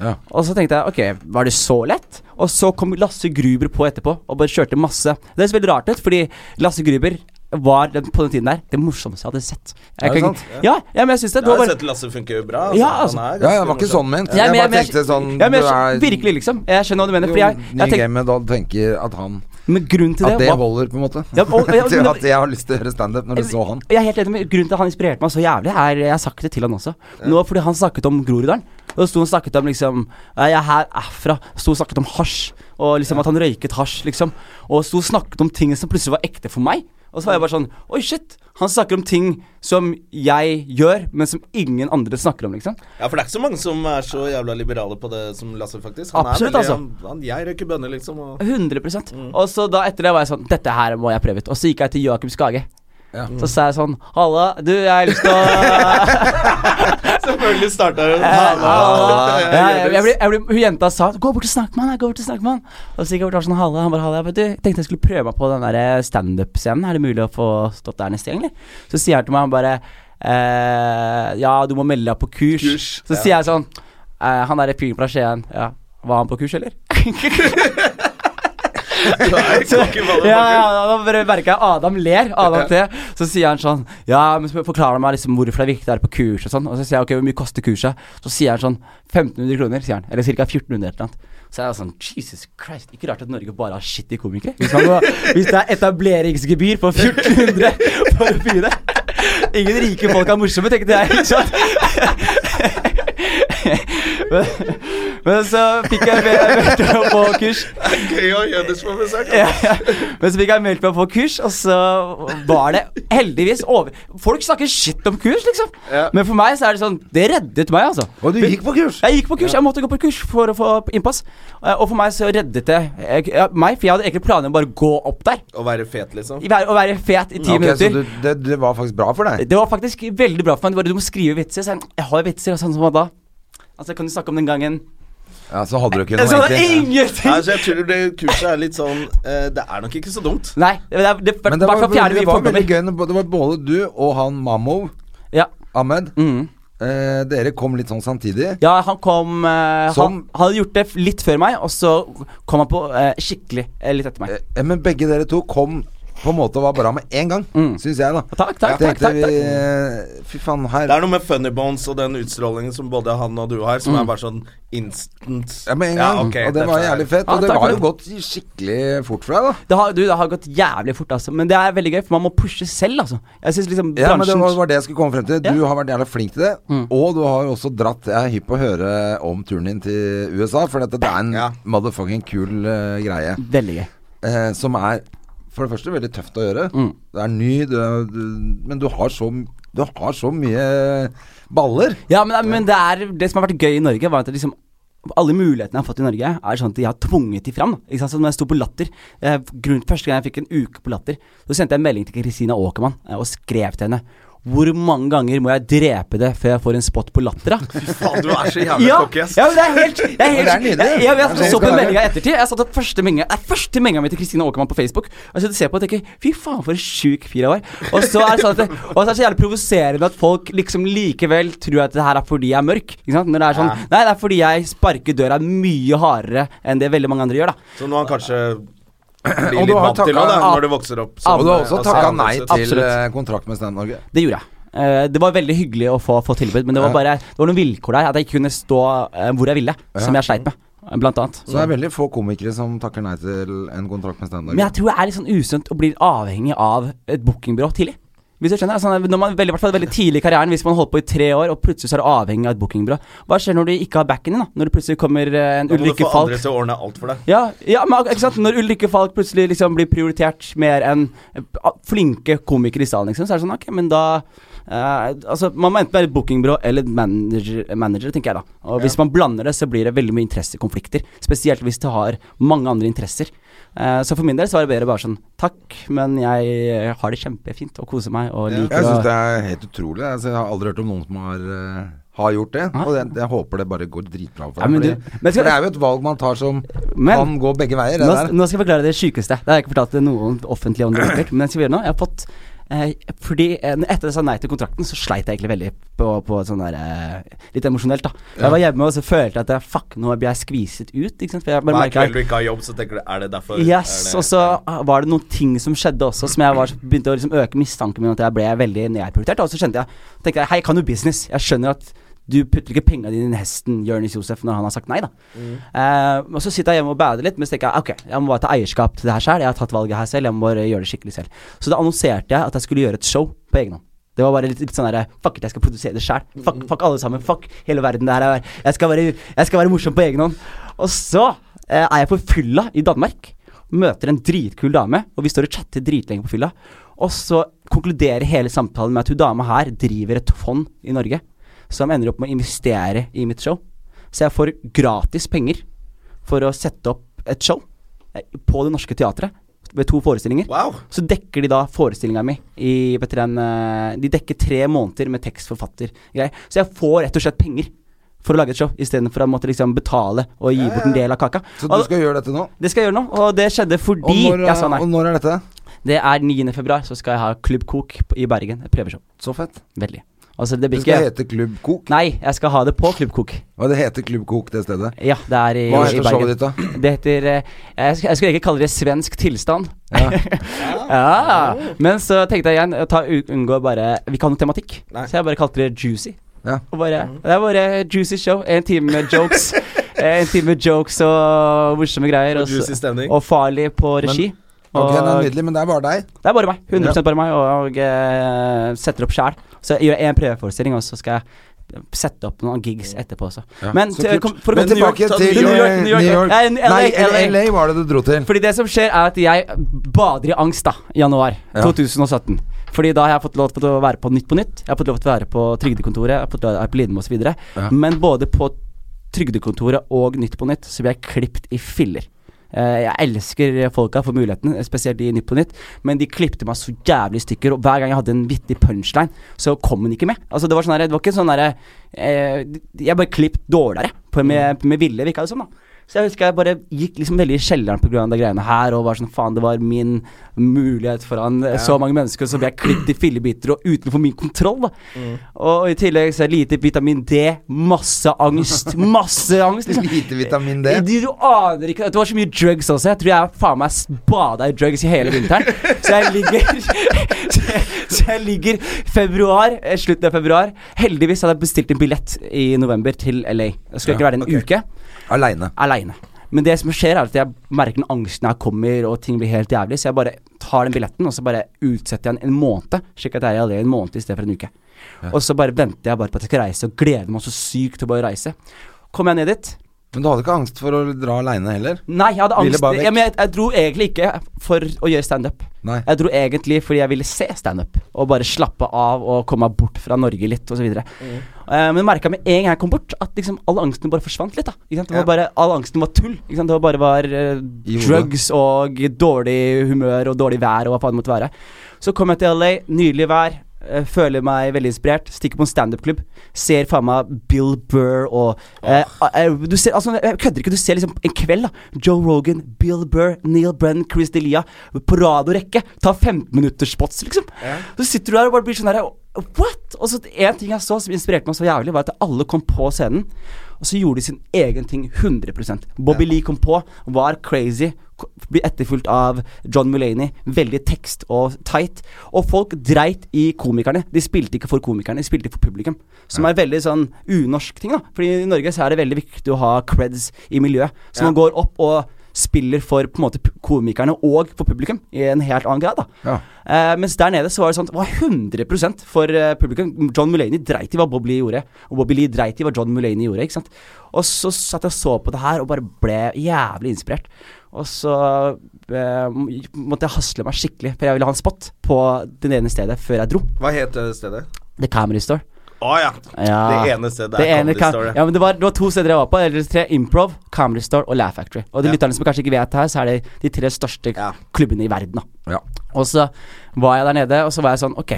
Ja.
Og så tenkte jeg ok, var det så lett? Og så kom Lasse Gruber på etterpå og bare kjørte masse. Det høres veldig rart ut, fordi Lasse Gruber var den, på den tiden der det morsomste jeg hadde sett. Jeg
Er det
kan-
sant?
Ja, ja, men jeg syns det.
Jeg
det var
har
bare,
sett Lasse funker bra.
Ja, altså.
Han er
Ja, jeg
ganske
var ikke
morsom.
sånn ment.
Ja,
Jeg
men
bare
jeg-
tenkte sånn
ja, men
du er-
jeg, virkelig, liksom. Jeg skjønner hva du mener. Fordi jeg,
Ny
jeg tenk,
game, men da tenker at han
men grunnen til
At
det
det
var
holder, på en måte.
Ja, og- ja,
Til
men-
at jeg har lyst til å gjøre standup når du så han.
Jeg er helt enig med Grunnen til at han inspirerte meg så jævlig, er Jeg har sagt det til han også. Nå fordi han snakket om Groruddalen. Og sto og snakket om liksom Jeg er her herfra. Sto og snakket om hasj. Og liksom at han røyket hasj, liksom. Og sto og snakket om ting som plutselig var ekte for meg. Og så var jeg bare sånn Oi, shit. Han snakker om ting som jeg gjør, men som ingen andre snakker om, liksom.
Ja, for det er ikke så mange som er så jævla liberale på det som Lasse, faktisk. er
Absolutt,
veldig-
altså.
han- Han, jeg røyker bønner, liksom. Og
100
Mm.
Og så da etter det var jeg sånn Dette her må jeg prøve ut. Og så gikk jeg til Joakim Skage.
Ja.
Så sa jeg sånn Halla, du, jeg har lyst til å
selvfølgelig starta hun
Ja, jeg, jeg, ble, jeg ble, hun jenta sa 'gå bort og snakk med han', jeg, gå bort og snakk med han. Og så gikk jeg bort og var sånn halla, han bare halla. Jeg bare, du, jeg tenkte jeg skulle prøve meg på den der eh, standup-scenen. Er det mulig å få stått der neste gang, eller? Så sier han til meg, han bare eh, 'ja, du må melde deg på kurs'.
Kurs,
så sier jeg sånn eh, 'han derre fyren fra Skien, ja, var han på kurs, eller?' Ja, ja, da bare merker jeg Adam ler. Adam T. Så sier han sånn Ja, men så forklarer han meg liksom hvorfor det er viktig å være på kurs og sånn. Og så sier jeg ok, hvor mye koster kurset? Så sier han sånn 1500 kroner, sier han. Eller ca. 1400 eller noe. Så er jeg sånn Jesus Christ, ikke rart at Norge bare har shitty komikere. Hvis, man må, hvis det er etableringsgebyr på 1400 for å begynne. Ingen rike folk er morsomme, tenkte jeg. Ikke sant? Men, men så fikk jeg meldt meg på kurs.
Gøy å ha Jøders på besøk.
Ja, ja. Men så fikk jeg meldt meg på kurs, og så var det heldigvis over Folk snakker shit om kurs, liksom.
Ja.
Men for meg så er det sånn Det reddet meg, altså.
Og du gikk på kurs!
Jeg gikk på kurs, jeg måtte gå på kurs for å få innpass. Eh, Og for meg så reddet det eh, ja, meg, for jeg hadde egentlig planer om bare å gå opp der.
Å være fet, liksom.
i vær- Å være fet i ti
Ok, så
minutter.
du, det, det var faktisk bra for deg?
Det var faktisk veldig bra for meg. Det var det, Du må skrive vitser. Så jeg, jeg har jo vitser, og sånn som da. Altså, kan du snakke om den gangen?
Ja, Så hadde du ikke
Så
noe
det er
egentlig.
Nei,
ingenting!
så jeg tror det kurset er litt sånn eh, Det er nok ikke så dumt.
Nei, det, det, det,
Men det var,
hvertfall fjerner
det
vi
var veldig
fordommer.
gøy. når- Det var både du og han Mammo
Ja.
Ahmed.
Mm.
Eh, dere kom litt sånn samtidig.
Ja, han kom eh, han,
Som-
han hadde gjort det f- litt før meg, og så kom han på eh, skikkelig eh, litt etter meg.
Eh, Men begge dere to kom på en måte og var bra med en gang, syns jeg, da.
Mm. Takk, takk,
Tenkte
takk, takk,
vi,
takk.
eh, Fy faen, her
Det er noe med funny bones og den utstrålingen som både han og du har, som er bare sånn instant
ja, med en gang.
ok,
og det var
dette er-
jævlig fett.
Ja,
og det
takk for
var jo
det.
gått skikkelig fort for deg, da.
Det har, du, det har gått jævlig fort, altså. Men det er veldig gøy, for man må pushe selv, altså. Jeg synes liksom
Ja, men det
bransjen
var, var det jeg skulle komme frem til. Du
Ja.
har vært jævla flink til det. Og du har jo også dratt Jeg er hypp på å høre om turen din til USA, for dette det er en
Ja.
motherfucking kul eh, greie.
Veldig gøy.
eh, som er for det første veldig tøft å gjøre. Det er ny, du, er- du, men du har så du har så mye baller.
Ja, men, men det, er, det som har vært gøy i Norge, var at det liksom alle mulighetene jeg har fått i Norge, er sånn at de har tvunget de fram. da. Ikke sant? Så når jeg sto på Latter eh, grunnen, Første gang jeg fikk en uke på Latter, så sendte jeg en melding til Kristina Aakermann eh, og skrev til henne Hvor mange ganger må jeg drepe det før jeg får en spot på Latter, da?
Faen, du er så jævlig
Ja,
cocky, ass.
ja, men det er helt, det er helt
det er nydelig.
Jeg, jeg, jeg,
Det er
så på
sånn det skal
meldinga i ettertid. Jeg satt opp første menga Nei, første menga mi til Kristina Aakermann på Facebook. Og jeg sitter og ser på og tenker Fy faen, for en sjuk fyr jeg var. Og så er det sånn at det, og så er det så jævlig provoserende at folk liksom likevel tror at det her er fordi jeg er mørk. Ikke sant? Når det er sånn Nei, det er fordi jeg sparker døra mye hardere enn det veldig mange andre gjør, da.
Så nå har han kanskje blir
Og du
litt
har
vant til
takka-
nå, da,
Ja.
når du vokser opp.
Og du har også
altså,
takka
han
nei
vokser-
til
Absolutt.
eh, kontrakt med Stand Norge.
Det gjorde jeg. Eh, det var veldig hyggelig å få, få tilbud, men det var bare Det var noen vilkår der. At jeg ikke kunne stå eh, hvor jeg ville, som jeg sleit med, eh, blant annet.
Så det er veldig få komikere som takker nei til en kontrakt med Stand
Men
Norge.
jeg tror det er litt sånn usunt å bli avhengig av et bookingbyrå tidlig. Hvis du skjønner, altså når man veldig, i hvert fall veldig tidlig i karrieren, hvis man holdt på i tre år, og plutselig så er du avhengig av et bookingbyrå. Hva skjer når du ikke har backen din, da? Når det plutselig kommer eh, en
Da må du
Ulrikke
få
Falk?
andre til å ordne alt for deg.
Ja, ja men, ak- ikke sant? Når Ulrikke Falk plutselig liksom blir prioritert mer enn eh, a- flinke komikere i salen, liksom, så er det sånn, ok, men da eh, altså, Man må enten være et bookingbyrå eller et manager, manager, tenker jeg da. Og hvis man blander det, så blir det veldig mye interessekonflikter. Spesielt hvis du har mange andre interesser. Eh, så for min del så var det bedre bare sånn Takk, men jeg har det kjempefint og koser meg og liker
Jeg syns
å
det er helt utrolig. Altså, jeg har aldri hørt om noen som har, eh, har gjort det. Og jeg, jeg håper det bare går dritbra for
Ja,
dem.
men
fordi-
du- men
For
skal-
det er jo et valg man tar som
Men-
kan gå begge veier. Det
nå,
der.
nå skal jeg forklare det sjukeste. Det har jeg ikke fortalt til noen offentlig om det sikkert, men jeg skal gjøre det nå. Jeg har fått Eh, fordi eh, Etter jeg sa nei til kontrakten, så sleit jeg egentlig veldig på, på sånn der eh, Litt emosjonelt, da. Jeg var hjemme og så følte jeg at jeg, fuck, nå blir jeg skviset ut. Ikke sant? For jeg bare
Hver
merket-
kveld du ikke har jobb, så tenker du Er det derfor? er
Yes,
det,
og så var det noen ting som skjedde også, som jeg var, begynte å liksom øke mistanken min at jeg ble veldig nedprioritert. Og så skjønte jeg, tenkte jeg hei, jeg kan jo business. Jeg skjønner at du putter ikke penga dine i hesten Jonis Josef når han har sagt nei, da. Eh, og så sitter jeg hjemme og bader litt, men så tenker jeg ok, jeg må bare ta eierskap til det her selv. Jeg har tatt valget her selv, jeg må bare gjøre det skikkelig selv. Så da annonserte jeg at jeg skulle gjøre et show på egen hånd. Det var bare litt, litt sånn derre Fuck it, jeg skal produsere det sjæl. Fuck, fuck alle sammen. Fuck hele verden. Det her er, jeg, skal være, jeg skal være morsom på egen hånd. Og så eh, er jeg på fylla i Danmark. Møter en dritkul dame, og vi står og chatter dritlenge på fylla. Og så konkluderer hele samtalen med at hun dama her driver et fond i Norge som ender opp med å investere i mitt show. Så jeg får gratis penger for å sette opp et show eh, på Det Norske Teatret ved to forestillinger.
Wow.
Så dekker de da forestillinga mi i vet dere, en, eh, De dekker tre måneder med tekstforfattergreier. Så jeg får rett og slett penger for å lage et show, istedenfor å måtte liksom betale og gi bort en del av kaka.
Så du
Og-
skal gjøre dette nå?
det skal jeg gjøre nå, og det skjedde
Og
fordi
når,
jeg sa
og
nei.
når er dette?
Det er 9. februar, så skal jeg ha Klubb Kok på- i Bergen. Et prøveshow.
Så fett.
Veldig. Altså, det blir
Det skal
ikke
hete Klubb Kok.
Nei, jeg skal ha det på Klubb Kok.
Og det heter Klubb Kok, det stedet.
Ja, det er i,
Hva
i
heter
Bergen.
showet ditt, da?
Det heter eh, Jeg, sk- jeg skulle egentlig kalle det svensk tilstand. Ja. Men så tenkte jeg igjen ta, unngå bare Vi kan jo tematikk.
Nei.
Så jeg bare kalte det Juicy.
Ja.
Og bare, det er bare juicy show. En time med jokes. en time med jokes og morsomme greier.
Og
Og, så-
juicy stemning.
og farlig på regi.
Ok, det er
og,
nydelig, men det er bare deg.
det er bare meg. 100 bare meg. Og, og eh, setter opp sjæl. Så jeg gjør en prøveforestilling, og så skal jeg sette opp noen gigs etterpå også. Men
så
til-
kult.
kom, for å
Men
komme
tilbake
tilbake
ta
til
New York,
eh,
New York. Nei, LA,
Nei,
LA.
LA var det du dro til.
Fordi det som skjer er at jeg bader i angst da i januar
Ja.
2017. Fordi da har jeg fått lov til å være på Nytt på Nytt, jeg har fått lov til å være på Trygdekontoret, jeg har fått lov til å være på Lidmo osv. videre Men både på Trygdekontoret og Nytt på Nytt så blir jeg klippet i filler. Eh, Jeg elsker folka for muligheten, spesielt i Nytt på Nytt, men de klippte meg så jævlig i stykker, og hver gang jeg hadde en vittig punchline, så kom den ikke med. Altså Det var sånn her, det var ikke sånn derre eh, Jeg bare klippet dårligere, på, med, med vilje, virka det som, da. Så jeg husker jeg bare gikk liksom veldig i kjelleren på grunn av de greiene her, og var sånn faen, det var min mulighet foran eh, så mange mennesker, så ble jeg klippet i fillebiter og utenfor min kontroll, da.
Mm.
Og i tillegg så er lite vitamin D, masse angst, masse angst. liksom.
Lite vitamin D.
Du, du aner ikke Det var så mye drugs også. Jeg tror jeg faen meg bada i drugs i hele vinteren. Så jeg ligger Så jeg- så jeg ligger februar, eh, slutten av februar. Heldigvis hadde jeg bestilt en billett i november til LA. Det skulle ikke være en uke
Aleine.
aleine. Men det som skjer, er at jeg merker den angsten jeg kommer, og ting blir helt jævlig, så jeg bare tar den billetten, og så bare utsetter jeg den en måned, slik at jeg er i LA en måned i stedet for en uke. Og så bare venter jeg bare på at jeg skal reise, og gleder meg så sykt til å bare reise. Kommer jeg ned dit?
Men du hadde ikke angst for å dra aleine heller?
Nei, jeg hadde
Ville
angst.
bare vekk.
Ja, men jeg, jeg dro egentlig ikke for å gjøre standup.
Nei.
Jeg dro egentlig fordi jeg ville se standup, og bare slappe av og komme meg bort fra Norge litt, osv. Mm. Uh, men merka med en gang jeg kom bort, at liksom all angsten bare forsvant litt. da ikke sant? Det var bare, All angsten var tull. Ikke sant? Det var bare var, eh,
I hodet.
drugs og dårlig humør og dårlig vær og hva faen det måtte være. Så kom jeg til LA, nydelig vær. eh, Føler meg veldig inspirert. Stikker på en standup-klubb. Ser faen meg Bill Burr og eh, eh, du ser, altså, Jeg kødder ikke. Du ser liksom en kveld. da Joe Rogan, Bill Burr, Neil Brenn, Chris Delia på rad og rekke. Ta 15-minutterspots, liksom. Så sitter du der og bare blir sånn her What?! Og så En ting jeg så som inspirerte meg så jævlig, var at alle kom på scenen. Og så gjorde de sin egen ting 100 Bobby Lee kom på, var crazy. k- Ble etterfulgt av John Mulaney. Veldig tekst og tight. Og folk dreit i komikerne. De spilte ikke for komikerne, de spilte for publikum. Som er veldig sånn unorsk ting, da. Fordi i Norge så er det veldig viktig å ha creds i miljøet. Så man går opp og spiller for på en måte pu- komikerne og for publikum i en helt annen grad. da
Ja.
Eh, Mens der nede så var det sånn Det var 100 for eh, publikum. John Mulaney dreit i hva Bob Lee gjorde, og Bob Lee dreit i hva John Mulaney gjorde. ikke sant? Og så satt jeg og så på det her og bare ble jævlig inspirert. Og så eh, måtte jeg hasle meg skikkelig, for jeg ville ha en spot på det ene stedet før jeg dro.
Hva het det stedet?
The Camry Store.
Å ja. Det ene stedet
Det
er
ene
Comedy
kan-
Store.
Ja, men det var, det var to steder jeg var på. Eller tre Improv, Comedy Store og Laugh Factory. Og de
Ja.
lytterne som kanskje ikke vet her, så er det de tre største
Ja.
klubbene i verden. da
Ja.
Og så var jeg der nede, og så var jeg sånn Ok,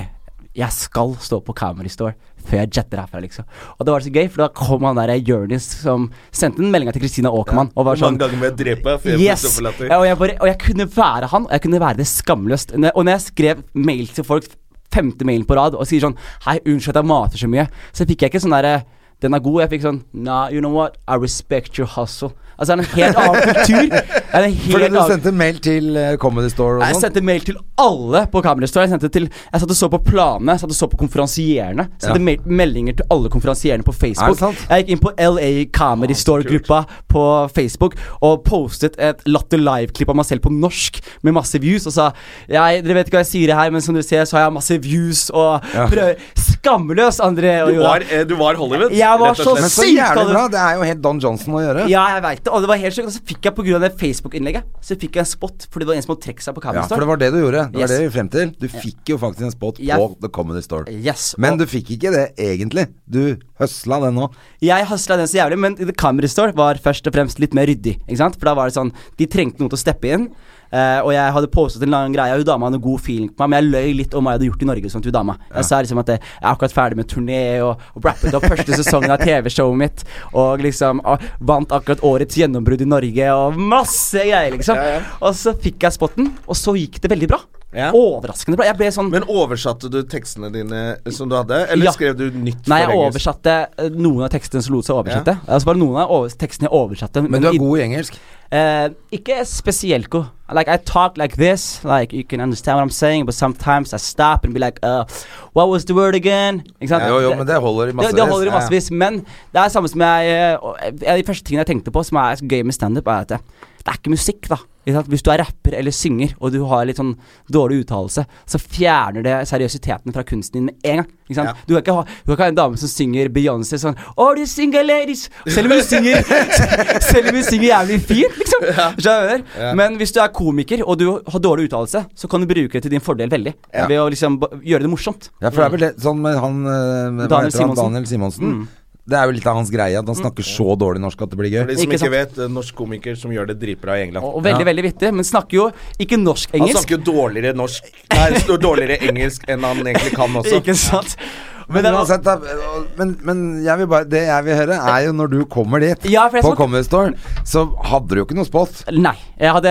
jeg skal stå på Comedy Store før jeg jetter herfra, liksom. Og det var så gøy, for da kom han der Jonis som sendte en melding til Kristina Aakman og var
Hvor
sånn
mange ganger må jeg drepe før jeg får
Yes!
stoppelatter?
Ja, og, jeg bare, og jeg kunne være han, og jeg kunne være det skamløst. Når- Og når jeg skrev mail til folk, femte mailen på rad, og sier sånn Hei, unnskyld at jeg mater så mye, så fikk jeg ikke sånn derre den er god. Jeg fikk sånn Nah, you know what? I respect your hustle. Altså, det er en helt annen kultur. Det er en helt
Fordi du
annen-
sendte mail til eh, Comedy Store
jeg
og sånn?
sendte mail til alle på Comedy Store. Jeg, sendte til, jeg satt og så på planene, jeg satt og så på konferansierene.
Ja.
Sendte mail, meldinger til alle konferansierene på
Er det
Facebook.
sant? Ah,
Jeg gikk inn på LA Comedy Store-gruppa på Facebook og postet et Latter Live-klipp av meg selv på norsk med masse views og sa jeg, Dere vet ikke hva jeg sier her, men som dere ser, så har jeg masse views og
Ja.
prøver Skamløs, André og
Du
Joda.
var, eh, du var Hollywood,
Jeg var så
Men så
Sykt,
jævlig
Kalle.
bra! Det er jo helt Don Johnson å gjøre.
Ja, jeg vet det. Og det var helt sjukt. Og så fikk jeg pga. det Facebook-innlegget Så fikk jeg en spot fordi det var en som hadde trukket seg på Comedy
Ja,
Store.
for det var det du gjorde. Det var
Yes.
det vi frem til. Du fikk jo faktisk en spot
Jeg-
på The Comedy Store.
Yes,
Men
og-
du fikk ikke det egentlig. Du høsla den nå.
Jeg hasla den så jævlig, men The Camera Store var først og fremst litt mer ryddig. Ikke sant? For da var det sånn De trengte noen til å steppe inn. eh, og jeg hadde postet en lang greie, og hun dama hadde god feeling på meg, men jeg løy litt om hva jeg hadde gjort i Norge. og Sånn, til hun dama Jeg sa liksom at eh, jeg er akkurat ferdig med turné og, og rappet opp første sesongen av TV-showet mitt. Og liksom og vant akkurat årets gjennombrudd i Norge og masse greier, liksom. Og så fikk jeg spotten, og så gikk det veldig bra.
Ja.
Overraskende bra. Jeg ble sånn
Men oversatte du tekstene dine som du hadde, eller
Ja.
skrev du nytt
Nei,
for
jeg
engelsk?
oversatte eh, noen av tekstene som lot seg oversette. Altså bare noen av over tekstene jeg oversatte.
Men du er
i-
god i engelsk.
Eh, ikke spesielt god. Like I talk like this, like you can understand what I'm saying, but sometimes I stop and be like, uh, what was the word again? Ikke sant?
Jo, jo, men det holder i
det,
massevis.
det holder i massevis. Men det er samme som jeg eh, og, eh, En av de første tingene jeg tenkte på som er så gøy med standup, er at det, det er ikke musikk, da. Ikke sant? Hvis du er rapper eller synger, og du har litt sånn dårlig uttalelse, så fjerner det seriøsiteten fra kunsten din med en gang. Ikke sant?
Ja.
Du, kan ikke ha, du kan ikke ha en dame som synger Beyoncé sånn All you single ladies Selv om hun synger Selv om hun synger jævlig fint, liksom. Skjønner du? Men hvis du er komiker og du har dårlig uttalelse, så kan du bruke det til din fordel veldig.
Ja.
Ved å liksom ba- gjøre det morsomt.
Ja, for det er vel det sånn med han eh, hva
Mm. Daniel
heter han?
Simonsen. Mm.
Daniel Simonsen. Det er jo litt av hans greie at han snakker så dårlig norsk at det blir
For de som
gøy.
Ikke
ikke,
sant.
vet, en norsk komiker som gjør det dritbra i England.
Og, og veldig, veldig vittig, men snakker jo ikke
Han
norsk-engelsk.
snakker jo dårligere norsk Nei, han snakker dårligere engelsk enn han egentlig kan også.
Ikke sant?
Men,
Men det var
uansett, da, men, men jeg vil bare, det jeg vil høre, er jo når du kommer dit
Ja, for jeg
på
skal-
Comedy Store, så hadde du jo ikke noe spot.
Nei. Jeg hadde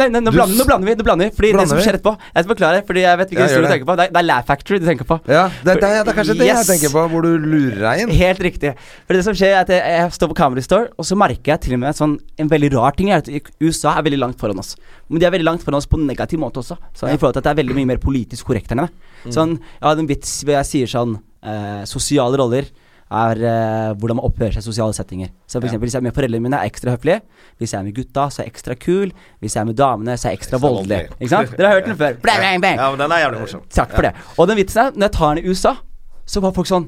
Nei, nei
Du
nå, blander, nå
s-
blander vi. Nå blander vi Fordi
Blander
det som
vi?
skjer etterpå Jeg skal forklare, fordi jeg vet ikke
Ja,
hva
gjør
du
det.
tenker på. Det er, det er Laugh Factory du tenker på.
Ja, det, det, er- det er kanskje det jeg
Yes.
tenker på, hvor du lurer deg inn.
Helt riktig. For det som skjer er at jeg, jeg står på Comedy Store, og så merker jeg til og med et sånn, en veldig rar ting. Er at USA er veldig langt foran oss. Men de er veldig langt foran oss på en negativ måte også. Sånn, I forhold til at det er veldig mye mer politisk korrekt her nede.
Mm.
Sånn, jeg hadde en vits hvor jeg sier sånn eh, Sosiale roller er eh, hvordan man oppfører seg i sosiale settinger. Så for eksempel, Hvis jeg er med foreldrene mine, er jeg ekstra høflig. Hvis jeg er med gutta, så er jeg ekstra kul. Hvis jeg er med damene, så er jeg ekstra voldelig.
voldelig.
Ikke sant? Dere har hørt den før. Bang, bang, bang.
Ja, men den er jævlig morsom.
Takk for det. Og den vitsen her, når jeg tar den i USA, så var folk sånn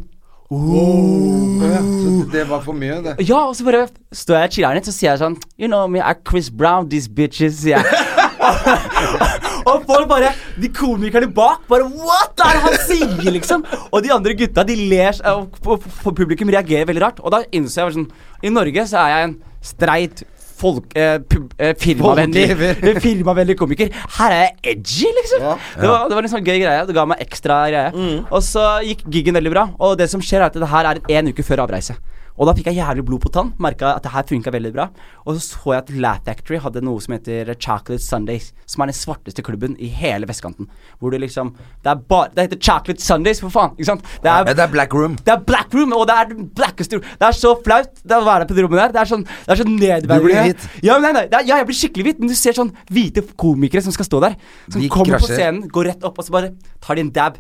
Ja, så det var for mye, det.
Mm. Ja, og så bare står jeg og chiller litt, så sier jeg sånn You know me, I'm Chris Brown, these bitches, sier jeg. og folk bare De komikerne bak bare What er det han sier, liksom? Og de andre gutta, de ler s- og p- p- p- Publikum reagerer veldig rart. Og da innså jeg bare sånn I Norge så er jeg en streit Folk, eh, pub- eh, firmavennlig,
Folkegiver.
firmavennlig komiker. Her er jeg edgy, liksom! Det, var, det var en sånn gøy greie. Det ga meg ekstra greie. Og så gikk giggen veldig bra. Og det som skjer, er at det her er en uke før avreise. Og da fikk jeg jævlig blod på tann. Merka at det her funka veldig bra. Og så så jeg at Laugh Factory hadde noe som heter Chocolate Sundays. Som er den svarteste klubben i hele vestkanten. Hvor det liksom Det er bare Det heter Chocolate Sundays, for faen! Ikke sant? Det
Ja, det er Black Room.
det er black room, og det er den blackeste rom. Det er så flaut det er å være på det rommet der. Det er sånn, det er sånn nedverdigende.
Du blir hvit.
Ja, men nei, nei, det er, ja, jeg blir skikkelig hvit, men du ser sånn hvite komikere som skal stå der. Som
De
kommer
krasjer.
på scenen, går rett opp, og så bare tar de en dab.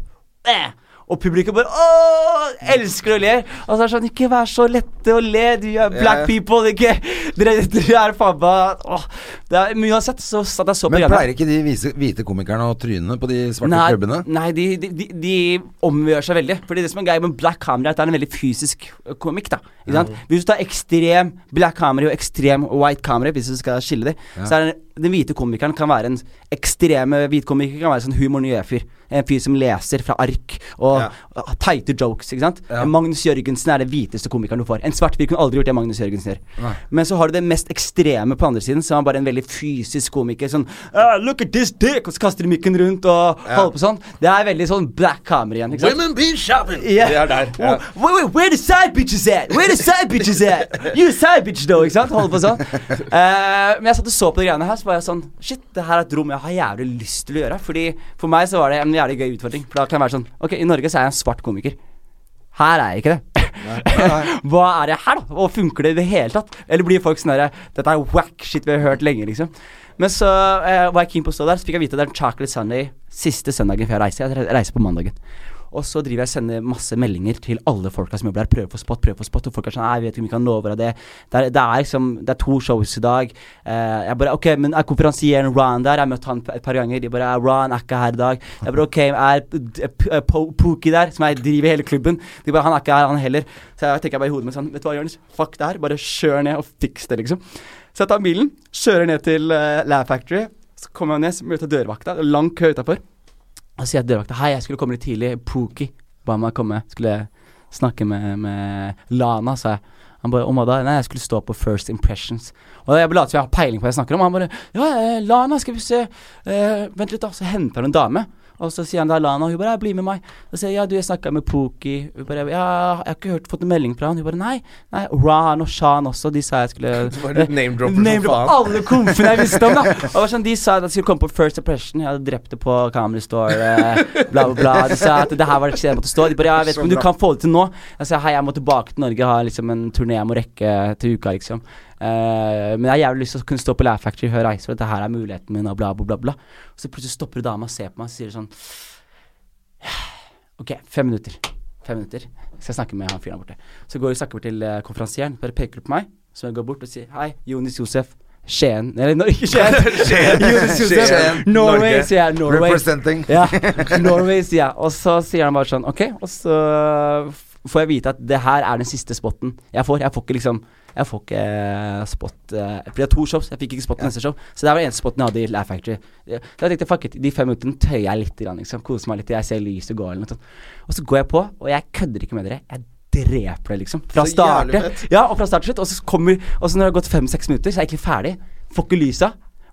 Eh! Og publikum bare åh, elsker å le. Og så er det sånn Ikke vær så lette å le, du er black
Ja.
people. Ikke? Dere, dere er faen meg åh. Det er, Men uansett så satt jeg så på
Men
greiene.
pleier ikke de vise, hvite komikerne å tryne på de svarte
Nei,
klubbene?
Nei, de, de, de, de omgjør seg veldig. Fordi det som er greia med black comedy, er at det er en veldig fysisk eh, komikk. da ikke sant? Hvis du tar ekstrem black comedy og ekstrem white comedy, hvis du skal skille dem, så er det, den hvite komikeren kan være en ekstreme hvitkomiker, kan være sånn humor nye fyr. En fyr som leser fra ark og
Ja.
og teite jokes. ikke sant? Magnus Jørgensen er det hviteste komikeren du får. En svart fyr kunne aldri gjort det Magnus Jørgensen gjør. Men så har du det mest ekstreme på andre siden, som er bare en veldig fysisk komiker. Sånn «Ah, Look at this dick! Og så kaster de mikken rundt og holder på sånn. Det er veldig sånn black camera igjen. ikke sant?
Women be shopping!
Yeah.
Det er der. Ja.
Where, where, where the side bitches at? Where the side bitches at? You the side bitch though, ikke sant? Holder på sånn. Eh, men jeg satt og så på de greiene her, så var jeg sånn Shit, det her er et rom jeg har jævlig lyst til å gjøre. Fordi For meg så var det en jævlig gøy utfordring. For da kan jeg være sånn Ok, i Norge så er jeg en svart komiker. Her er jeg ikke det. Hva er jeg her, da? Og funker det i det hele tatt? Eller blir folk sånn herre Dette er whack shit vi har hørt lenge, liksom. Men så eh, var jeg keen på å stå der, så fikk jeg vite at det er en Chocolate Sunday siste søndagen før jeg reiser. Jeg re- reiser på mandagen. Og så driver jeg og sender masse meldinger til alle folka som jobber der. Prøver å få spot, prøver å få spot. Og folk er sånn Nei, jeg vet ikke om vi kan love deg det. Det er, det er liksom Det er to shows i dag. Eh, jeg bare OK, men er konferansieren Ron der? Jeg har møtt han et par ganger. De bare Ron er ikke her i dag. Jeg bare OK, er d- p- eh, Po- Pookie der, som jeg driver hele klubben? De bare Han er ikke her, han heller. Så jeg tenker bare i hodet mitt sånn Vet du hva, Jonis? Fuck det her. Bare kjør ned og fiks det, liksom. Så jeg tar bilen, kjører ned til uh, Lab Factory. Så kommer jeg ned, så møter jeg dørvakta. Det er Lang kø utafor. Og så sier jeg til dørvakta Hei, jeg skulle komme litt tidlig. Pookie ba meg komme. Skulle snakke med, med Lana, sa jeg. Han bare Om hva da? Nei, jeg skulle stå på First Impressions. Og jeg bare later som jeg har peiling på hva jeg snakker om. Han bare Ja, eh, Lana, skal vi se eh, Vent litt, da. Så henter han en dame. Og så sier han da Lana, og hun bare ja, 'bli med meg'. Og så sier jeg ja, du, jeg snakka med Pookie. Hun bare ja, jeg har ikke hørt, fått en melding fra han. Hun bare nei. nei Ran og Shan også, de sa jeg skulle
Du bare name-dropper som
Name-dropper
faen.
alle komfene jeg visste om, da. Og det var sånn, De sa at jeg skulle komme på First Impression. Jeg hadde drept det på Comedy Store. eh, Bla, bla, bla. De sa at det her var det stedet jeg måtte stå. De bare ja, jeg vet ikke om du kan få det til nå. Jeg sa hei, jeg må tilbake til Norge, jeg har liksom en turné jeg må rekke til uka, liksom. Eh, men jeg har jævlig lyst til å kunne stå på Laugh Factory før jeg reiser, for dette her er muligheten min, og bla, bla, bla. bla. Og så plutselig stopper dama og ser på meg og sier sånn Ok, fem minutter. Fem minutter. Så jeg snakker med han fyren der borte. Så går jeg og snakker bort til eh, konferansieren. Bare peker på meg. Så jeg går bort og sier hei, Jonis Josef. Skien Eller no, ikke Skien. Jonis Josef.
Skien,
Norway,
Norge.
sier jeg. Norway.
Representing.
Ja. Norway, sier jeg. Og så sier han bare sånn OK. Og så f- får jeg vite at det her er den siste spotten jeg får. Jeg får ikke liksom Jeg får ikke eh, spot eh, Fordi jeg har to shows. Jeg fikk ikke spot neste show. Så det her var den eneste spotten jeg hadde i Laugh Factory. Eh, Så jeg tenkte fuck it, de fem minuttene tøyer jeg litt. Grann, liksom. Koser meg litt. Jeg ser lyset gå eller noe sånt. Og så går jeg på, og jeg kødder ikke med dere. Jeg dreper det, liksom. Fra
Så
start
jævlig fett.
Ja, og fra start til slutt. Og så kommer Og så når det har gått fem-seks minutter, så er jeg egentlig ferdig. Får ikke lysa.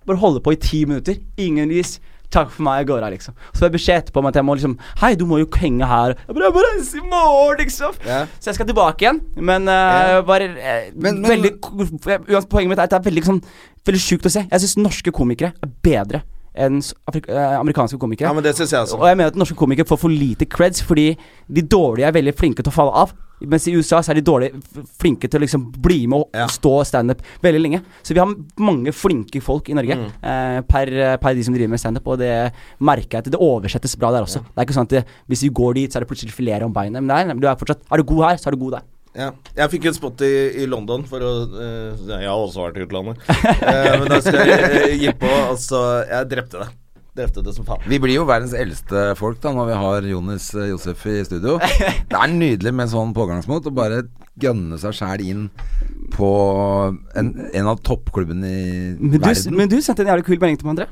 Bare holder på i ti minutter. Ingen lys. Takk for meg, jeg går av, liksom. Så får jeg beskjed etterpå om at jeg må liksom Hei, du må jo henge her. Jeg bare, jeg må reise i morgen, liksom.
Ja.
Så jeg skal tilbake igjen, men eh, bare eh,
Men- men-
veldig, uansett, Poenget mitt er at det er veldig, sånn, veldig sjukt å se. Jeg syns norske komikere er bedre enn s- afrik- eh, amerikanske komikere.
ja, men det syns jeg sånn. også.
Og jeg mener at norske komikere får for lite creds fordi de dårlige er veldig flinke til å falle av. Mens i USA så er de dårlige f- flinke til å liksom bli med og
Ja.
stå standup veldig lenge. Så vi har m- mange flinke folk i Norge eh, per, per de som driver med standup, og det merker jeg at det oversettes bra der også. Det er ikke sånn at det, hvis du går dit, så er det plutselig filet om beinet. Men nei, nei, du er fortsatt Er du god her, så er du god der.
Ja. Jeg fikk en spot i, i London for å eh, Jeg har også vært i utlandet. Eh, men da skal jeg eh, gikk på, og så Jeg drepte det. Drepte det som faen.
Vi blir jo verdens eldste folk da når vi har Jonis eh, Josef i studio. Det er nydelig med sånn pågangsmot å bare gønne seg sjæl inn på en, en av toppklubbene i
Men du,
verden.
men du sendte en jævlig kul melding til meg, André.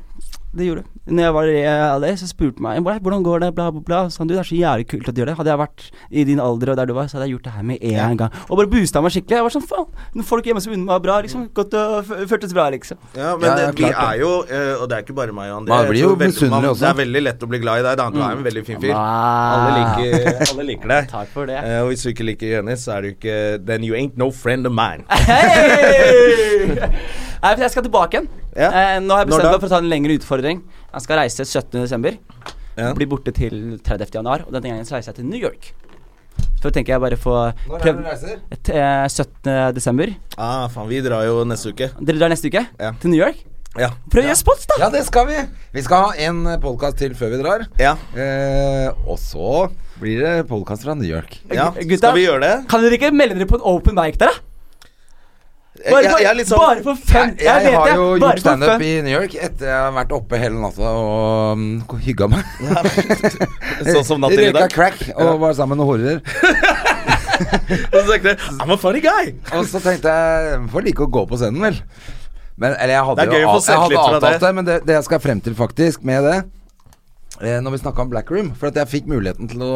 Det gjorde du. Når jeg var i eh, LA, så spurte han meg "Hvordan- hvordan går det, bla, bla, bla. Så han, du, det er så jævlig kult at du gjør det. Hadde jeg vært i din alder og der du var, så hadde jeg gjort det her med en gang. Og bare boosta meg skikkelig. Jeg var sånn, faen. Noen folk hjemme som unner meg bra, liksom. Godt og f- føltes bra, liksom.
Ja, men
Ja, ja,
eh, vi
klart
er jo eh, Og det er ikke bare meg og André.
Man blir
jeg tror
jo misunnelig
man-
også.
Det er veldig lett å bli glad i deg. Da. Du er en veldig fin fyr.
Wow.
Alle liker, alle liker deg.
Takk for det.
Eh, og hvis du ikke liker Jonis, så er du ikke Then you ain't no friend of mine.
Hei! Nei, for jeg skal tilbake igjen.
Ja.
Eh, nå har jeg
Når
bestemt
da?
meg for å ta en lengre utfordring. Jeg skal reise 17.12.
Ja.
Blir borte til 30. januar. Og denne gangen så reiser jeg til New York. Så tenker jeg bare få prøv-
reiser?
Et, eh, 17. desember.
Ah, faen, vi drar jo neste uke.
Dere drar neste uke
Ja.
til New York.
Ja.
Prøv å gjøre spots, da!
Ja, det skal vi! Vi skal ha en podkast til før vi drar.
Ja.
Eh, og så blir det podkast fra New York.
ja.
Gutta?
Skal vi gjøre det?
Kan dere ikke melde dere på en open mic der, da? Bare,
Jeg-
for-
jeg er litt sånn-
bare for fem.
Jeg, jeg,
vet
har
det.
jo
bare
gjort
for fem.
standup i New York etter jeg har vært oppe hele natta og um, hygga meg.
Sånn som natt til i
Røyka
dag?
crack og var sammen med horer.
Og så tenkte jeg I'm a funny guy!
Og så tenkte jeg Man får like å gå på scenen, vel. Men, eller jeg hadde
Det er gøy
jo
å få
av-
sett
jeg hadde
litt fra
avtalt
det.
det, men det, det jeg skal frem til faktisk med det, eh, når vi snakka om Black Room. For at jeg fikk muligheten til å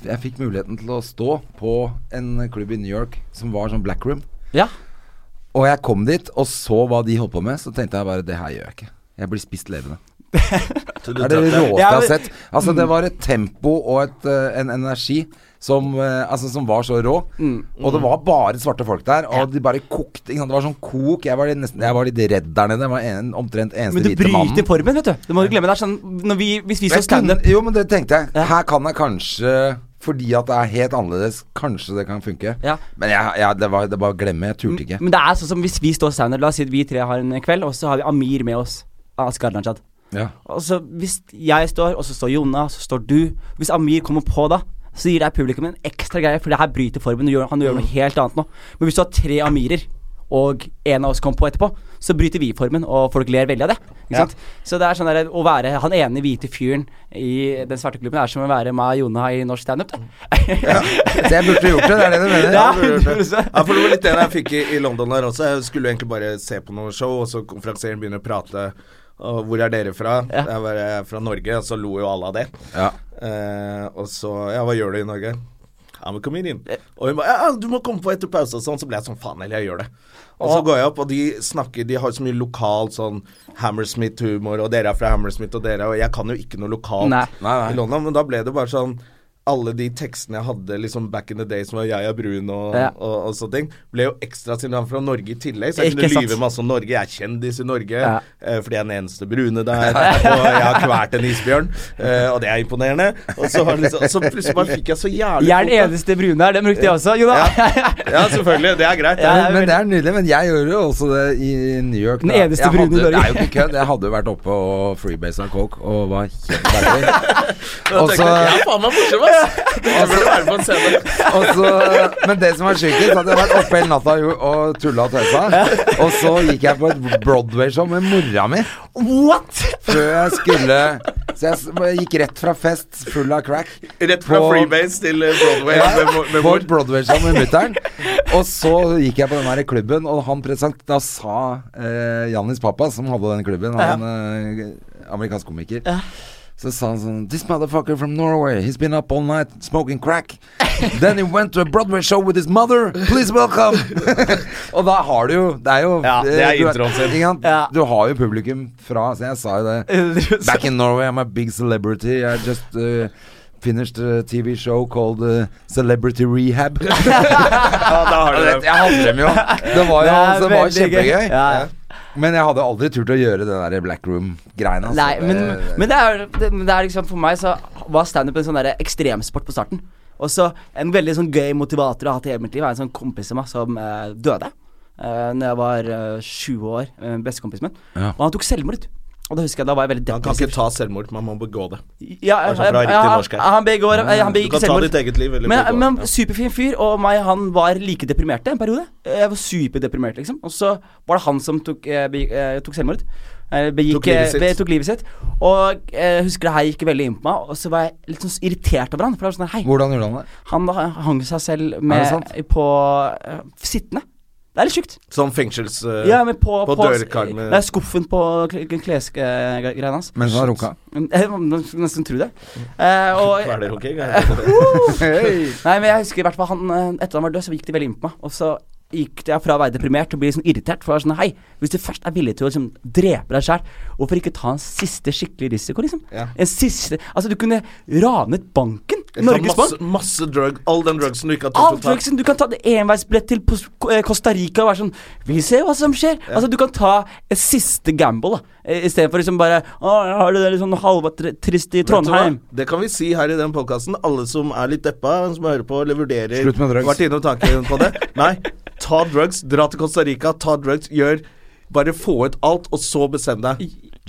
Jeg fikk muligheten til å stå på en klubb i New York som var sånn Black Room.
Ja.
Og jeg kom dit og så hva de holdt på med, så tenkte jeg bare det her gjør jeg ikke. Jeg blir spist levende. Det er det råeste jeg har sett. Altså Det var et tempo og et, eh, en energi som, eh, altså, som var så rå.
Mm.
Og det var bare svarte folk der, og de bare kokte. Ikke sant? Det var sånn kok. Jeg var, litt nesten, jeg var litt redd der nede. Jeg var en, omtrent eneste
Men du
hvite mannen.
bryter formen, vet du. Det må du glemme. Det er sånn når vi, Hvis vi
Jeg
skal standup
kunne- Jo, men det tenkte jeg. Her kan jeg kanskje fordi at det er helt annerledes, kanskje det kan funke.
Ja.
Men jeg, jeg, det var det bare å glemme. Jeg turte ikke.
Men det er sånn som hvis vi står standup, la oss si at vi tre har en kveld, og så har vi Amir med oss. Askar Najad.
Ja.
Og så hvis jeg står, og så står Jonna, så står du Hvis Amir kommer på da, så gir det publikum en ekstra greie, for det her bryter formen. Du gjør, han gjør noe helt annet nå. Men hvis du har tre Amirer, og en av oss kommer på etterpå, så bryter vi formen, og folk ler veldig av det. Ikke sant? Så det er sånn der, å være han ene hvite fyren i den svarte klubben er som å være meg og Jonna i norsk standup. Ja.
Så jeg burde gjort det, det er det du mener?
Ja,
Ja,
du burde se.
for det var litt det jeg fikk i, i London der også. Jeg skulle jo egentlig bare se på noe show, og så konferansieren begynner å prate. Og hvor er dere fra? Jeg var eh, fra Norge, og så lo jo alle av det.
Ja.
Eh, og så Ja, hva gjør du i Norge? I'm a comedian. Og hun bare Ja, du må komme på etter pause og sånn. Så ble jeg sånn Faen heller, jeg gjør det. Og så går jeg opp, og de snakker De har så mye lokal sånn Hammersmith-humor, og dere er fra Hammersmith, og dere Og jeg kan jo ikke noe lokalt
Nei.
Nei, nei.
i London, men da ble det bare sånn alle de tekstene jeg hadde liksom back in the day, som var jeg er brun og,
Ja.
og, og sånne ting, ble jo ekstra siden han var fra Norge i tillegg. Så jeg
Ikke
kunne
sant.
lyve masse om Norge. Jeg er kjendis i Norge
Ja.
eh, fordi jeg er den eneste brune der. Og jeg har kvalt en isbjørn, eh, og det er imponerende. Og så, var det liksom, og så plutselig bare fikk jeg så jævlig
Jeg er den
kvota.
eneste brune her, den brukte jeg også. Jonna!
Ja. ja, selvfølgelig. Det er greit.
Ja,
det.
Men, men det er nydelig. Men jeg gjorde jo også det i New York.
Den
da.
eneste
Jeg
brune
hadde-
i Norge.
Det er jo ikke kødd. Jeg hadde jo vært oppe og freebasa coke og var helt verdig. Og så
Jeg er faen meg morsom, ass! Jeg burde være på en scene.
og så- Men det som var sjukest, at jeg hadde vært oppe hele natta jo, og tulla og tøysa. Og så gikk jeg på et Broadway-show med mora mi
What?!
før jeg skulle Så jeg, s- jeg gikk rett fra fest full av crack.
Rett fra
på-
Freebase til eh, Broadway
Ja,
med, med, med
på
mor.
et Broadway-show med mutter'n. Og så gikk jeg på den her klubben, og han present, da sa eh, Jannis pappa, som hadde den klubben, han eh, amerikansk komiker Så sa han sånn This motherfucker from Norway, he's been up all night smoking crack. Then he went to a Broadway show with his mother. Please welcome! og da har du jo Det er jo
Ja, det er
eh, du-
introen sin.
ikke sant?
Ja.
Du har jo publikum fra Så jeg sa jo det. Back in Norway, I'm a big celebrity. I just uh, finished a TV show called uh, Celebrity Rehab.
Ja, da har
Jeg
du
vet,
det.
jeg hadde dem jo. Det var jo altså,
Det er
det var jo
veldig gøy.
kjempegøy.
Ja, ja.
Men jeg hadde aldri turt å gjøre det der Black Room-greiene. altså.
Nei, men,
Det-
men det er, det, men det er liksom For meg så var standup en sånn der ekstremsport på starten. Og så en veldig sånn gøy motivator jeg har hatt i hele mitt liv, er en sånn kompis av meg som eh, døde. Uh, når jeg var eh, 20 år, uh, bestekompisen min.
Ja.
Og han tok selvmord. Og da husker jeg da var jeg veldig
Man kan ikke
depressiv.
ta selvmord, man må begå det.
Ja,
Altså, fra
ja,
riktig
ja,
norsk her. Ah,
han begår eh, Han
Du
begår
kan ta
ikke selvmord.
ditt eget liv eller
Men,
begå det,
men
ja.
superfin fyr, og meg han var like deprimert en periode. Jeg var superdeprimert, liksom. Og så var det han som tok, eh, be, eh, tok selvmord. Eh, begikk,
Tok livet
eh,
sitt.
Be, tok livet sitt. Og eh, jeg husker det her gikk veldig inn på meg, og så var jeg litt sånn irritert over han. For det var sånn her, hei,
Hvordan gjorde han det?
han ha- hang seg selv
Er det
med,
sant?
på eh, sittende. Det er litt sjukt.
Sånn fengsels... eh,
Ja, men på,
på dørkarmen.
Nei, skuffen på klesgreiene hans.
Mens han runka.
Jeg må nesten tro det. Eh, og,
Kvelerhooking?
Nei, men jeg husker i hvert fall han eh, Etter han var død, så gikk det veldig inn på meg. Og så gikk det fra å være deprimert til å bli sånn irritert. For jeg var sånn Hei, hvis du først er villig til å liksom drepe deg sjæl, hvorfor ikke ta en siste skikkelig risiko, liksom?
Ja.
En siste Altså, du kunne ranet banken. Norges
masse,
Bank.
masse drug, all den drugsen du ikke har
Alt,
turt å ta.
liksom, du kan ta en enveisbillett til Pos- Ko- eh, Costa Rica og være sånn Vi ser hva som skjer. Altså, du kan ta en siste gamble, da. Istedenfor liksom bare Å, har du det litt sånn halvtrist i
Vet du hva?
Trondheim?
Det kan vi si her i den podkasten. Alle som er litt deppa, som hører på eller vurderer
Slutt med drugs.
Vært innom tanken på det. Nei, ta drugs. Dra til Costa Rica, ta drugs. Gjør Bare få ut alt, og så bestem deg.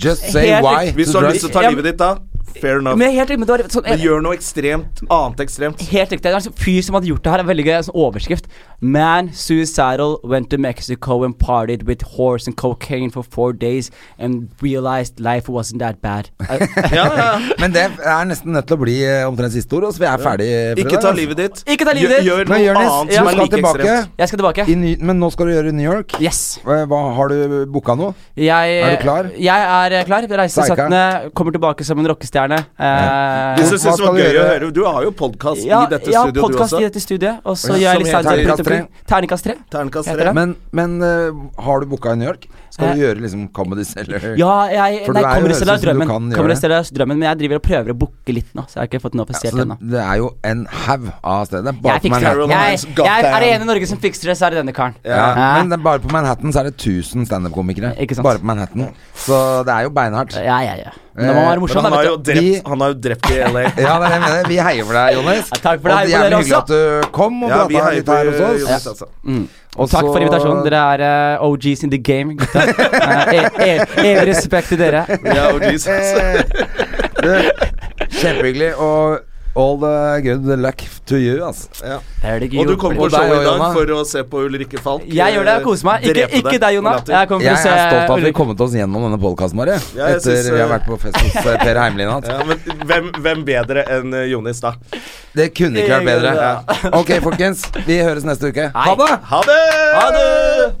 Just say
Helt
why.
riktig.
Hvis du har lyst til å ta
Ja, men-
livet ditt, da, fair enough.
Men jeg er helt enig, men det var sånn
Men gjør noe ekstremt annet ekstremt.
Helt riktig. Det er en sånn fyr som hadde gjort det her, er veldig gøy. En sånn overskrift. Man suicidal went to Mexico and partied with horse and cocaine for four days and realized life wasn't that bad. Eh, I,
Ja, ja, ja.
Men det er nesten nødt til å bli eh, omtrent siste ord. Så vi er ferdig for i
Ikke
dag,
ta
altså.
livet ditt.
Ikke ta livet ditt.
Gjør, gjør
Men
noe
Jonis,
annet
du
som er
skal
like
tilbake.
ekstremt.
jeg skal tilbake.
I ny, men nå skal du gjøre New York.
Yes.
Hva, hva- har du booka noe?
Jeg,
Er du klar?
Jeg er eh, klar. Reiser
Steika.
17. Kommer tilbake som en rockestjerne. Eh,
Hvis du syns det
skal
var
du
gøy å
gjøre?
høre Du har jo podkast
ja,
i dette
ja,
studioet, du
podcast i
også.
dette studioet. Og så
Ja,
gjør jeg
som
litt
heter
soundtrack
Terningkast
rundt omkring. Terningkast tre.
Terningkast
Heter
tre.
det?
Men, men eh, har du booka i New York? Skal du
Eh.
gjøre liksom Comedy Cellar?
Ja, jeg
For
Nei,
du er jo
kommer til
høres ut som du
drømmen.
kan gjøre
Kommer
det.
til drømmen, men jeg driver og prøver å booke litt nå. Så jeg har ikke fått den
Så
offisielt
det,
ennå.
Altså, det er jo en haug av steder. Bare
Jeg
på
fikser det.
Manhattan.
Jeg,
Caroline's Got
jeg er det
Talent.
ene i Norge som fikser det, så er det denne karen.
Ja.
Ja.
Men det er bare på Manhattan så er det 1000 standup-komikere.
Ikke sant.
Bare på Manhattan. Så det er jo beinhardt.
Ja, ja, ja. Men da
Eh,
må man være
Men
morsom,
han
da,
har jo
vet du.
Vi-
drept, han har jo drept i LA.
Ja, det er det jeg mener. Vi heier for deg, Jonis.
Ja, takk for det.
Og det er
Heier på dere
hyggelig
også.
at du kom og
Ja, vi
prata
heier
litt
på
her hos oss.
Jonis, altså.
Mm.
Og
Takk
så-
for invitasjonen. Dere er eh, OGs in the game, gutta. Eh, e- e- Evig respekt til dere.
Ja, og de synes-
Du, Kjempehyggelig. Og all the good luck to you, altså.
Og du kommer på
Og deg
showet i
og
dag
Jonna.
for å se på Ulrikke Falk.
Jeg gjør det, jeg
eh,
koser meg. Ikke,
drepe
ikke
deg
deg, Jonna.
og latter.
Jeg kommer
Jeg
til
er
å se
stolt av at vi
Ulrik.
har kommet oss gjennom denne podkasten, Marie.
Ja, jeg
Etter
synes,
vi har
eh,
vært på fest hos eh, Per Heimlin og alt.
Ja, men hvem, hvem bedre enn eh, Jonis, da?
Det kunne ikke vært bedre.
Ja.
Ok, folkens. Vi høres neste uke.
Hei.
Ha det! Ha det!